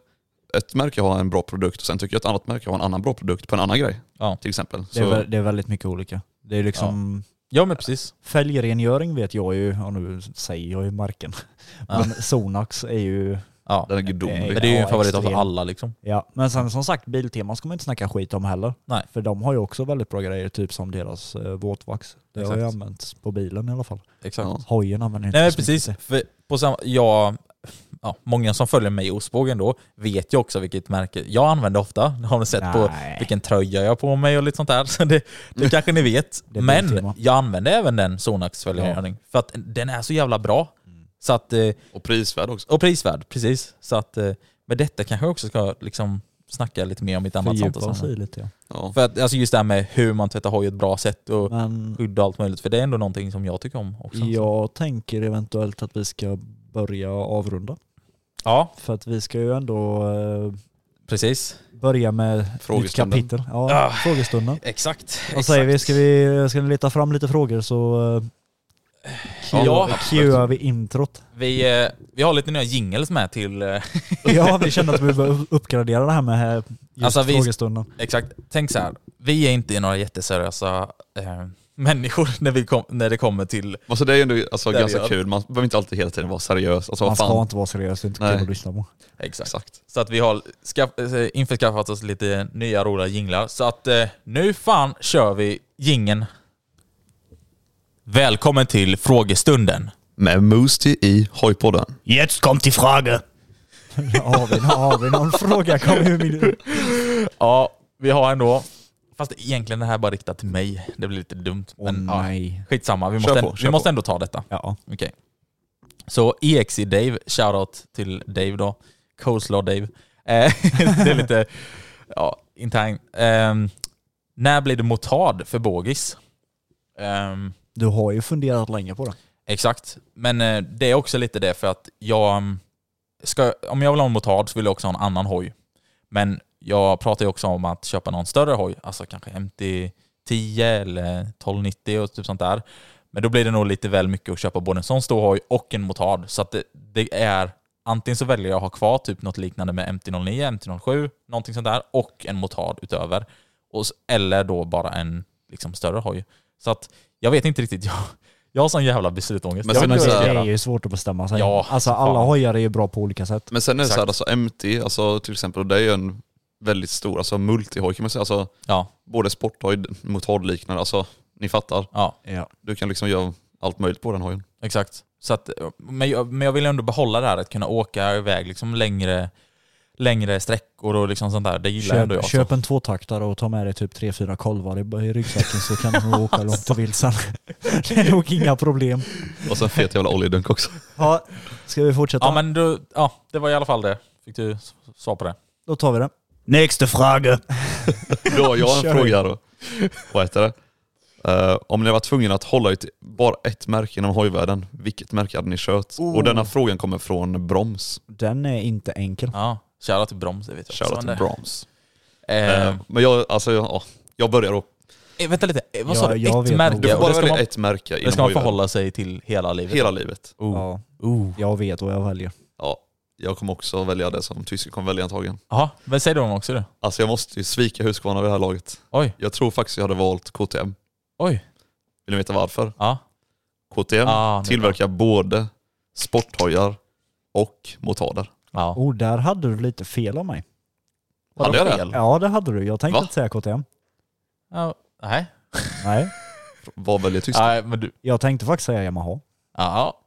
C: ett märke har en bra produkt och sen tycker jag ett annat märke har en annan bra produkt på en annan grej.
B: Ja.
C: Till exempel.
D: Det är,
C: Så,
D: vä- det är väldigt mycket olika. Det är liksom
B: ja men precis.
D: fälgrengöring vet jag ju, ja, nu säger jag ju marken, men Sonax är ju
B: Ja.
C: den är
D: Nej.
C: gudomlig.
B: Men det är ju en
D: Ja,
B: favorit av
D: extrem.
B: alla liksom.
D: Ja, men sen som sagt, Biltema ska man inte snacka skit om heller.
B: Nej.
D: För de har ju också väldigt bra grejer, typ som deras eh, våtvax. Det har ju
B: Exakt.
D: använts på bilen i alla fall.
B: Exakt.
C: Ja.
D: Hojen använder inte
B: Nej men
D: så
B: precis,
D: mycket.
B: för på samma, jag, ja, många som följer mig i ostbågen då vet ju också vilket märke jag använder ofta. Det har ni sett på
D: Nej. Mm.
B: vilken tröja jag har på mig och lite sånt där. Så det, det kanske ni vet.
D: Det är
B: men
D: Biltema.
B: jag använder även den Sonax följerhörning för att den är så jävla bra.
D: Mm.
B: Så att, eh,
C: Och prisvärd också.
B: och prisvärd, precis. Så att eh, med detta kanske jag också ska liksom snacka lite mer om mitt annat
D: Fördjupa
B: samtal.
D: oss
B: sen.
D: i lite ja.
C: Ja.
B: För att, alltså just det här med hur man tvättar hoj ett bra sätt och
D: Men
B: skydd och allt möjligt. För det är ändå någonting som jag tycker om också. alltså.
D: jag tänker eventuellt att vi ska börja avrunda.
B: Ja,
D: För att vi ska ju ändå eh,
B: precis.
D: börja med nytt
C: Frågestunden.
D: kapitel. Ja,
B: Ah.
D: Frågestunden.
B: Exakt.
D: Vad säger vi?
B: exakt.
D: Ska, vi? ska ni leta fram lite frågor så eh,
B: Ja,
D: cuear vi introt.
B: Vi, eh, vi har lite nya jingles med till... eh,
D: Ja, vi känner att vi behöver uppgradera det här med eh, just
B: Alltså, vi-
D: frågestunden.
B: Exakt. Tänk så här. vi är inte några jätteseriösa eh, människor när, vi kom, när det kommer till...
C: Alltså, det är ju ändå alltså,
B: Där vi
C: ganska
B: gör.
C: kul, man behöver inte alltid hela tiden vara seriös. Alltså,
D: Man
C: vad
D: ska
C: fan.
D: inte vara seriös, det är inte
C: Nej.
D: kul att lyssna på.
B: Exakt.
C: Exakt.
B: Så att vi har skaff, eh, införskaffat oss lite nya roliga jinglar. Så att eh, nu fan kör vi jingeln. Välkommen till frågestunden.
C: Med Moostie i Hojpodden.
D: Jetzt kommt die Frage. har, vi, har vi någon fråga? Kom ju min...
B: Ja, vi har ändå... Fast egentligen det här är bara riktat till mig. Det blir lite dumt.
D: Åh
B: Men ja,
D: nej.
B: skitsamma, vi
C: Kör
B: måste,
C: på, kör
B: vi måste
C: på.
B: ändå ta detta.
D: Ja.
B: Okej. Så EXI Dave, shoutout till Dave då. Coleslaw Dave. Eh, det är lite ja, intern. Ehm, när blir det motard för bogis? Ehm,
D: Du har ju funderat länge på det.
B: exakt. Men eh, det är också lite det för att jag... mm, Ska, om jag vill ha en motard så vill jag också ha en annan hoj. Men jag pratar ju också om att köpa någon större hoj. Alltså kanske MT-10 eller 1290 och typ sånt där. Men då blir det nog lite väl mycket att köpa både en sån stor hoj och en motard. Så att det, det är antingen så väljer jag att ha kvar typ något liknande med MT-09, MT-07, någonting sånt där och en motard utöver. Och, s- eller då bara en liksom, större hoj. Så att jag vet inte riktigt. Jag, jag har sån jävla beslutångest.
C: Men
B: jag
C: sen
B: vet
D: Men
B: inte
C: är
B: vad jag ska
D: det är
B: göra.
D: ju svårt att bestämma sig.
B: Ja,
D: alltså
B: fan.
D: alla hojar är ju bra på olika sätt.
C: Men sen är det så här,
B: Exakt.
C: alltså, MT, alltså, till exempel, det är ju en väldigt stor alltså, multihoj kan man säga. Alltså,
B: Ja,
C: både sporthoj mot liknande, alltså ni fattar.
B: ja.
D: Ja.
C: Du kan liksom göra allt möjligt på den hojen.
B: Exakt. Så att, men, jag, men jag vill ändå behålla det här att kunna åka iväg liksom längre, längre sträckor och liksom sånt där. Det gillar ändå jag.
D: Köp,
B: så.
D: köp en tvåtaktare och ta med dig typ tre fyra kolvar i, i ryggsäcken så kan du nog åka långt du vill sen. det är nog inga problem.
C: Och sen fet jävla oljedunk också.
D: Ja, ska vi fortsätta?
B: Ja men du, ja, det var i alla fall det. Fick du s- svar på det?
D: Då tar vi det. Nästa fråga.
C: Då har jag
D: Kör.
C: en fråga här då. Vad heter det? Eh, om ni var tvungna att hålla ut bara ett märke inom hojvärlden, vilket märke hade ni kört?
D: Oh.
C: Och denna frågan kommer från Broms.
D: Den är inte enkel.
B: Ja. Shoutout till Broms, det vet jag.
C: Shoutout
B: också,
C: till
B: men
C: Broms.
B: det- Eh,
C: Eh, men jag, alltså, jag, ja, jag börjar då.
B: eh, vänta lite, Eh, vad
D: Ja,
B: sa du?
D: jag
B: Ett
D: vet
B: märke?
D: nog.
C: Du får
B: Och
C: bara
B: det ska
C: välja
B: man,
C: ett märke
B: det
C: inom
B: ska man
C: hojvärlden.
B: förhålla sig till hela livet?
C: Hela livet.
B: Oh.
D: Ja,
B: Oh.
D: jag vet vad jag väljer.
C: Ja. Jag kommer också välja det som tysken kommer välja antagligen.
B: Jaha, men säg dem också det.
C: Alltså jag måste ju svika Husqvarna vid det här laget.
B: Oj.
C: Jag tror faktiskt jag hade valt KTM.
B: Oj.
C: Vill ni veta varför?
B: Ja.
C: KTM
B: Ah, det är
C: tillverkar både sporthojar och motarder.
B: Ja.
D: Oh, där hade du lite fel av mig.
C: Hade jag det?
D: Ja, det hade du. Jag tänkte
C: Va?
D: inte säga KTM.
B: ja. Nej.
D: Nej,
C: Vad väljer tysken?
B: Nej, men du.
D: jag tänkte faktiskt säga Yamaha.
B: Ja.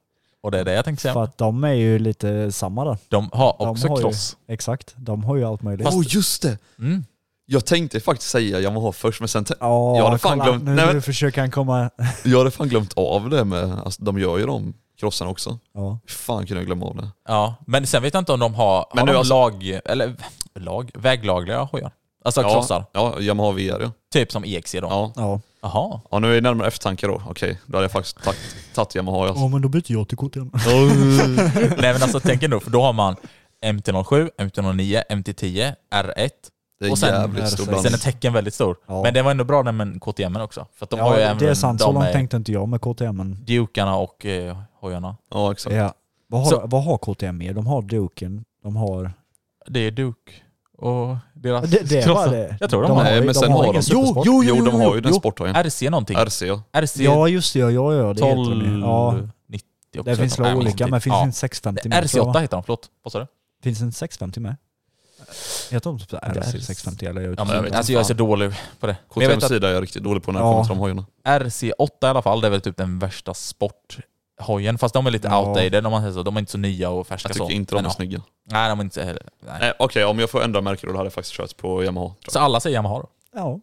B: Och det är det jag tänkte
D: För
B: säga.
D: att de är ju lite samma där.
B: De har
D: De
B: också
D: har ju-
B: cross.
D: Exakt. De har ju allt möjligt.
C: Åh oh, just det!
B: Mm.
C: Jag tänkte faktiskt säga Yamaha först men sen tän-
D: Ja,
C: Jag hade fan
D: kolla,
C: glömt-
D: Nu,
C: Nej, men-
D: nu försöker han komma...
C: jag hade fan glömt av det med, alltså de gör ju de krossarna också.
D: Ja.
C: Hur fan kunde jag glömma av det?
B: Ja. Men sen vet jag inte om de har,
C: Men
B: har
C: nu
B: de
C: alltså-
B: lag, eller lag, väglagliga hojar. Alltså
C: ja,
B: krossar.
C: Ja, Yamaha VR ja.
B: Typ som EXC då.
C: ja.
D: Ja.
B: Jaha.
C: Ja nu är det närmare eftertanke då. Okej, då hade jag faktiskt tagit- tagit Yamaha. Alltså.
D: men då byter jag till KTM.
B: Nej men alltså tänk ändå, för då har man MT-07, MT-09, MT-10, R1.
C: Det är
B: Och sen-
C: jävligt stor
D: sen-
C: blandning.
B: Sen är tecken väldigt stor.
D: Ja.
B: Men det var ändå bra den med KTM också. För att de har ju
D: ja,
B: även
D: det är sant. Så
B: de
D: långt
B: med
D: tänkte inte jag med KTM. Men...
B: Dukarna och eh, hojarna.
C: Ja exakt.
D: Ja. Vad, har,
B: Så-
D: vad har KTM mer? De har Duken, de har...
B: Det är Duke och deras
D: Det, det var
B: krossar.
D: det.
B: Jag tror de,
D: De
B: har
D: har-
C: Nej men
D: de
C: sen
D: har
C: har de...
D: ingen supersport.
B: Jo, jo,
C: jo,
B: jo,
C: de har ju
B: jo,
C: den
B: jo.
C: sporthojen.
B: RC någonting.
C: RC ja.
B: RC
D: Ja just det, ja, ja, ja det heter de ju.
B: 1290
D: ja,
B: också.
D: Det finns väl
B: Nej,
D: olika, men
B: inte.
D: finns
B: Ja.
D: en 650 med? tror jag,
B: RC8
D: va?
B: heter de, förlåt. Vad sa du?
D: Finns en 650 med? Heter de typ så här
B: Precis.
D: RC650 eller?
B: Ja, men,
C: jag vet
B: alltså
C: inte
B: jag är
C: fan.
B: så dålig på det. Men jag vet
C: KTMs
B: att
C: sida är jag riktigt dålig på när det
D: Ja.
C: kommer till de hojarna.
B: RC8 i alla fall, det är väl typ den värsta sporthojen. Fast de är lite
D: Ja.
B: outdated om man säger så. De är inte så nya och färska
C: Jag
B: så.
C: tycker inte de
B: Alltså, Men
C: är
B: ja.
C: snygga.
B: Nej, de är inte heller. Nej.
C: Nej, Okej, om jag får ändra märke då hade jag faktiskt kört på Yamaha. Tror
B: Så alla säger Yamaha då?
D: Ja.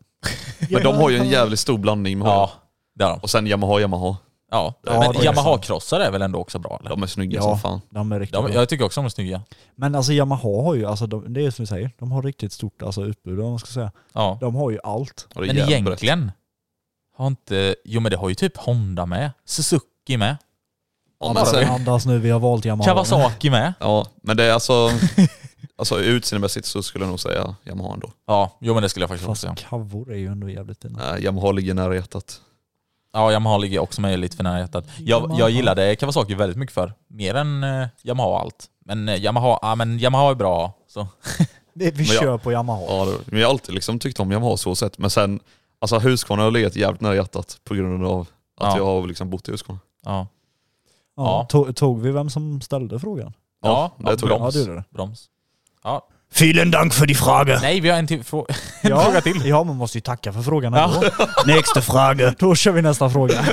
C: jag. Men de har ju en jävligt stor blandning med hojar.
B: Ja, det har de.
C: Och sen Yamaha, Yamaha.
B: Ja.
D: Ja, det
B: men
D: är
B: Yamaha-krossar är väl ändå också bra? Eller?
C: De är snygga
D: Ja.
C: som fan.
D: De är riktigt
B: De,
D: bra.
B: jag tycker också de är snygga.
D: Men alltså Yamaha har ju, alltså de, det är som du säger, de har riktigt stort alltså, utbud om man ska säga.
B: Ja.
D: De har ju allt.
C: Och
B: Men
C: det är jävligt brett.
B: egentligen har inte... Jo men det har ju typ Honda med. Suzuki med.
C: Ja, men, sen,
D: Andas nu, Alltså, vi har valt Yamaha.
B: Kawasaki med.
C: Alltså, ja, men det är alltså... alltså utseendemässigt så skulle jag nog säga Yamaha ändå.
B: Ja, jo men det skulle jag faktiskt också
D: Fast
B: säga.
D: kavor är ju ändå jävligt fina.
C: Nej, Yamaha ligger nära hjärtat.
B: Ja, Yamaha ligger också mig lite för nära hjärtat. Jag,
D: Yamaha.
B: jag gillade Kawasaki väldigt mycket för Mer än eh, Yamaha och allt. Men eh, Yamaha, ja, men Yamaha är bra. Så.
D: Vi, vi
C: Men jag-
D: kör på Yamaha.
C: Ja, det- men jag har alltid liksom tyckt om Yamaha så sett. Men sen, alltså Husqvarna har legat jävligt nära hjärtat på grund av att
B: Ja.
C: jag har liksom bott i Husqvarna.
B: Ja.
D: Ja,
B: Ja.
D: Tog, tog vi vem som ställde frågan?
C: Ja,
B: Ja,
C: det tog
B: bra.
C: jag.
D: Ja, du gjorde det.
B: Broms. Ja.
D: Vielen dank för die Frage!
B: Nej, vi har en till fråga.
D: ja, fråga till. Ja, man måste ju tacka för frågan ändå. Nästa fråga. Då kör vi nästa fråga.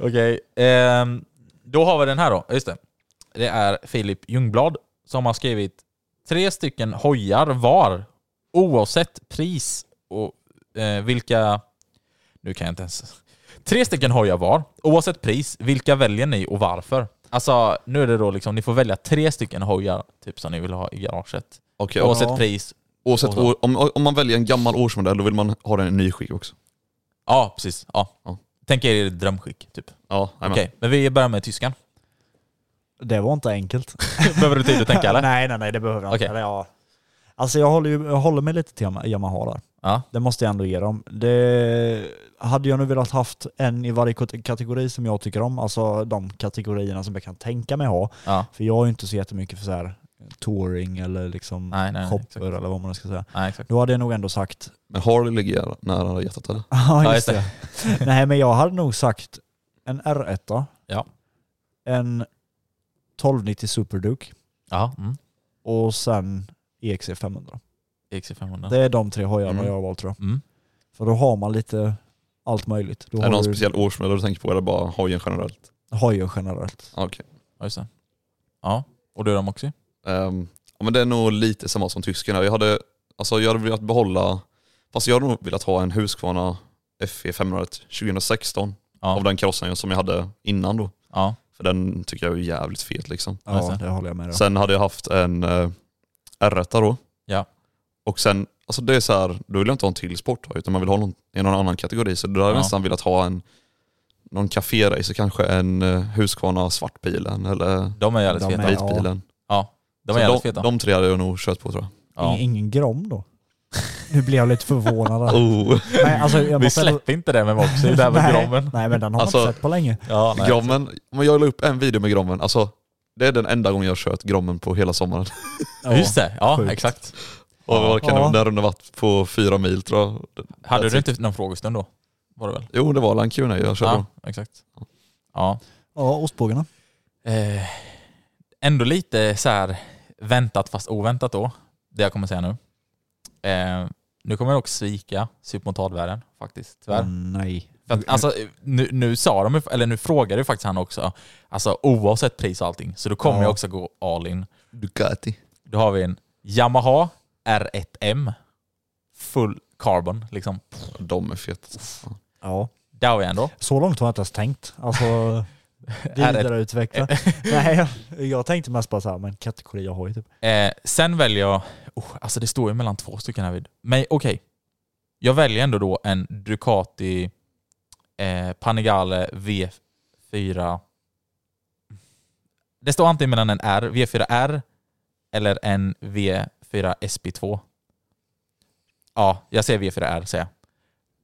B: Okej. ehm, då har vi den här då. Just det. Det är Filip Ljungblad som har skrivit tre stycken hojar var oavsett pris och eh, vilka... Nu kan jag inte ens... Tre stycken hojar var oavsett pris. Vilka väljer ni och varför? Alltså nu är det då liksom, ni får välja tre stycken hojar typ som ni vill ha i garaget.
C: Okej, och-
B: Oavsett
D: Ja.
B: pris.
C: oavsett år, om, om man väljer en gammal årsmodell då vill man ha den i ny skick också.
B: Ja, precis. Ja.
C: Ja.
B: Tänk er drömskick typ.
C: Ja, amen.
B: Okej, men vi börjar med tyskan.
D: Det var inte enkelt.
B: Behöver du tid att tänka eller?
D: nej, nej, nej, det behöver jag inte.
B: Okej.
D: Eller, ja. Alltså jag håller, ju, jag håller mig lite till Yama- Yamaha där.
B: Ja.
D: Det måste jag ändå ge dem. Det hade jag nu velat haft en i varje kate- kategori som jag tycker om, alltså de kategorierna som jag kan tänka mig ha.
B: Ja.
D: För jag är ju inte så jättemycket för så här touring eller liksom
B: Nej, nej, nej,
D: shopper
B: exakt.
D: eller vad man ska säga.
B: Nej, exakt.
D: Då hade jag nog ändå sagt
C: Men Harley ligger nära hjärtat eller?
D: Ja, just
B: Ja,
D: det. Nej, men jag hade nog sagt en R1,
B: Ja.
D: en 1290 Superduke
B: Ja. Mm.
D: och sen E EXC 500.
B: EXC 500.
D: Det är de tre hojarna
C: Mm.
D: jag har valt tror jag.
B: E Mm.
D: För då har man lite allt möjligt. Då
C: Är det
D: har
C: någon
D: du
C: speciell årsmodell du tänker på eller bara hojen generellt?
D: hojar generellt.
C: Ja, Okej.
B: Ja, just det. Ja, och du är de också?
C: Ehm, ja, men det är nog lite samma som tysken. här. Jag hade, alltså, jag hade velat behålla, fast jag hade nog velat ha en Husqvarna E FE 500 2016
B: Ja.
C: av den krossen som jag hade innan då.
B: Ja.
C: För den tycker jag är jävligt fet liksom.
B: Ja, just
D: Ja,
B: det.
D: det håller jag med om.
C: Sen hade jag haft en eh, R1 då.
B: Ja.
C: Och sen, alltså det är så här, då vill jag inte ha en till sport utan man vill ha någon, i någon annan kategori. Så då hade jag
B: Ja.
C: nästan velat ha en, någon café-racer kanske, en eh, Husqvarna svartbilen eller
B: De är jävligt
D: De är-
B: feta.
D: ja.
C: vitbilen.
B: De är
C: Så
B: jävligt
C: de,
B: feta.
C: de tre hade jag nog kört på tror jag.
B: ja.
D: Ingen, ingen Grom då? Nu blev jag lite förvånad. där.
C: Oh.
D: Nej, alltså, jag
B: Vi
D: måste ändå-
B: släpper inte det med Moxie, det här med
D: Nej,
B: grommen.
D: Nej, men den har man
C: Alltså-
D: inte sett på länge.
B: Ja, nej.
C: Grommen, men jag la upp en video med Grommen, alltså Det är den enda gången jag kört Grommen på hela sommaren.
B: Just det, ja
D: sjukt.
B: exakt.
C: Och vad kan
D: Ja.
C: det, den rundan varit på fyra mil tror jag.
B: Hade
C: Jag
B: du inte någon frågestund då? Var det väl?
C: Jo det var Lankuna jag körde
B: Ja,
C: då.
B: exakt. Ja.
D: Ja, ostbågarna.
B: Eh, ändå lite så här väntat fast oväntat då, det jag kommer säga nu. Eh, nu kommer jag dock svika supermontadvärlden faktiskt, tyvärr.
D: Mm, Nej.
B: För att, alltså, nu, nu sa de ju- eller nu frågade ju faktiskt han också, alltså oavsett pris och allting, så då kommer
D: Ja.
B: jag också gå all in.
C: Ducati.
B: Då har vi en Yamaha R1M, full carbon liksom.
C: De är feta.
D: Ja.
B: Där har vi en då.
D: Så långt har jag inte ens tänkt. Alltså, det
B: R1M.
D: vidareutveckla. Nej, jag tänkte mest bara såhär, men kategori jag har ju typ.
B: Eh, sen väljer jag, oh, alltså det står ju mellan två stycken här vid. Men okej, jag väljer ändå då en Ducati eh, Panigale V4. Det står antingen mellan en R, V4R eller en V4 SP2. Ja, jag säger V4R säger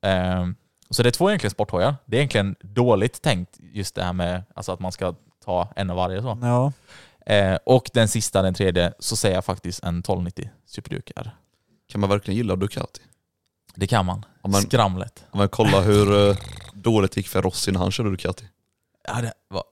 B: jag. Eh, så det är två egentligen sporthojar. Det är egentligen dåligt tänkt just det här med alltså att man ska ta en av varje. Så.
D: Ja.
B: Eh, och den sista, den tredje, så säger jag faktiskt en 1290 Superduke R.
C: Kan man verkligen gilla Ducati?
B: Det kan man.
C: Ja, men-
B: Skramlet.
C: Om man kollar hur eh, dåligt det gick för Rossi när han körde Ducati.
B: Ja, det var...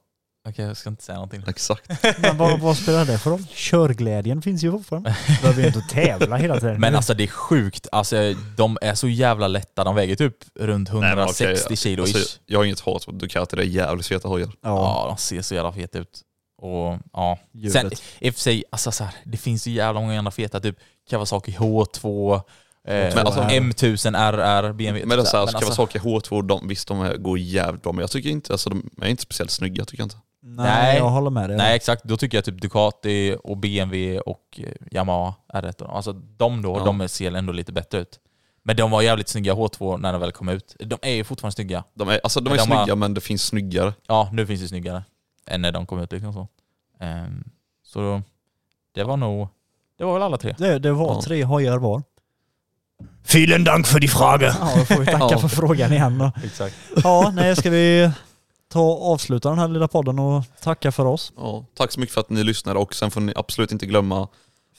B: Okej, jag ska inte säga någonting.
C: Exakt.
D: Men vad, vad spelar det för roll? Körglädjen finns ju fortfarande. Behöver ju inte tävla hela tiden.
B: Men alltså det är sjukt. Alltså, de är så jävla lätta. De väger typ runt
C: Nej, men
B: 160
C: okej,
B: kilo ish.
C: alltså, jag har inget hat mot Ducati, det är jävligt feta hojar.
D: ja.
B: Ja, de ser så jävla feta ut. Och ja.
D: Hjulet.
B: Sen i och för sig, alltså, så här, det finns ju jävla många andra feta. Typ Kawasaki H2, eh,
C: Men alltså-
B: M1000 RR, BMW.
C: Men alltså, det är
B: typ så här, alltså-
C: såhär, så Kawasaki H2, de, visst de är- går jävligt bra men jag tycker inte, alltså de är inte speciellt snygga tycker jag inte.
D: Nej,
B: Nej.
D: jag håller med dig.
B: Nej exakt, då tycker jag typ Ducati och BMW och eh, Yamaha R1. Alltså de då,
C: Ja.
B: de ser ändå lite bättre ut. Men de var jävligt snygga H2 när de väl kom ut. De är ju fortfarande snygga.
C: De är, alltså de är
B: Men de har-
C: snygga men det finns snyggare.
B: Ja, nu finns det snyggare än när de kom ut liksom så. Ehm, så då, det var nog, det var väl alla tre.
D: Det, det var
C: Ja.
D: tre hojar var.
G: Vielen Dank för die Frage!
D: Ja, då får vi tacka
C: Ja.
D: för frågan igen då.
B: Exakt.
D: Ja, nej, ska vi ta och avsluta den här lilla podden och tacka för oss.
C: Ja, tack så mycket för att ni lyssnade och sen får ni absolut inte glömma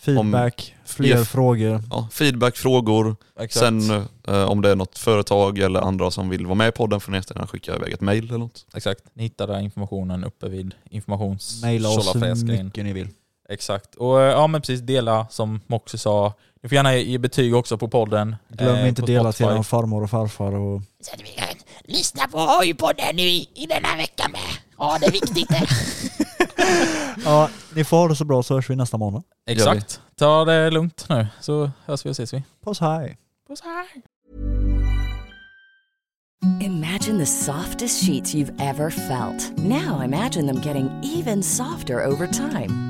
D: Feedback, fler
C: Jeff-
D: frågor.
C: ja, feedback, frågor,
B: exakt.
C: sen eh, om det är något företag eller andra som vill vara med i podden får ni jättegärna skicka iväg ett mail eller något.
B: exakt. Ni hittar där informationen uppe vid informations...
D: Maila oss hur
B: Tjolafräsgrejen.
D: mycket ni vill.
B: Exakt. Och eh, ja men precis, dela som Moxie sa. Ni får gärna ge betyg också på podden.
D: Glöm
B: eh,
D: inte
B: på
D: dela till
B: Spotify.
D: eran farmor och farfar. Och...
H: Så att vi kan lyssna på Hojpodden nu i, i denna vecka med. Ja, det är viktigt det.
D: Ja, ni får ha det så bra så hörs vi nästa månad.
B: Exakt. Ta det lugnt nu så hörs vi och ses vi.
D: Puss hej!
B: Puss hej!
I: Imagine the softest sheets you've ever felt. Now imagine them getting even softer over time.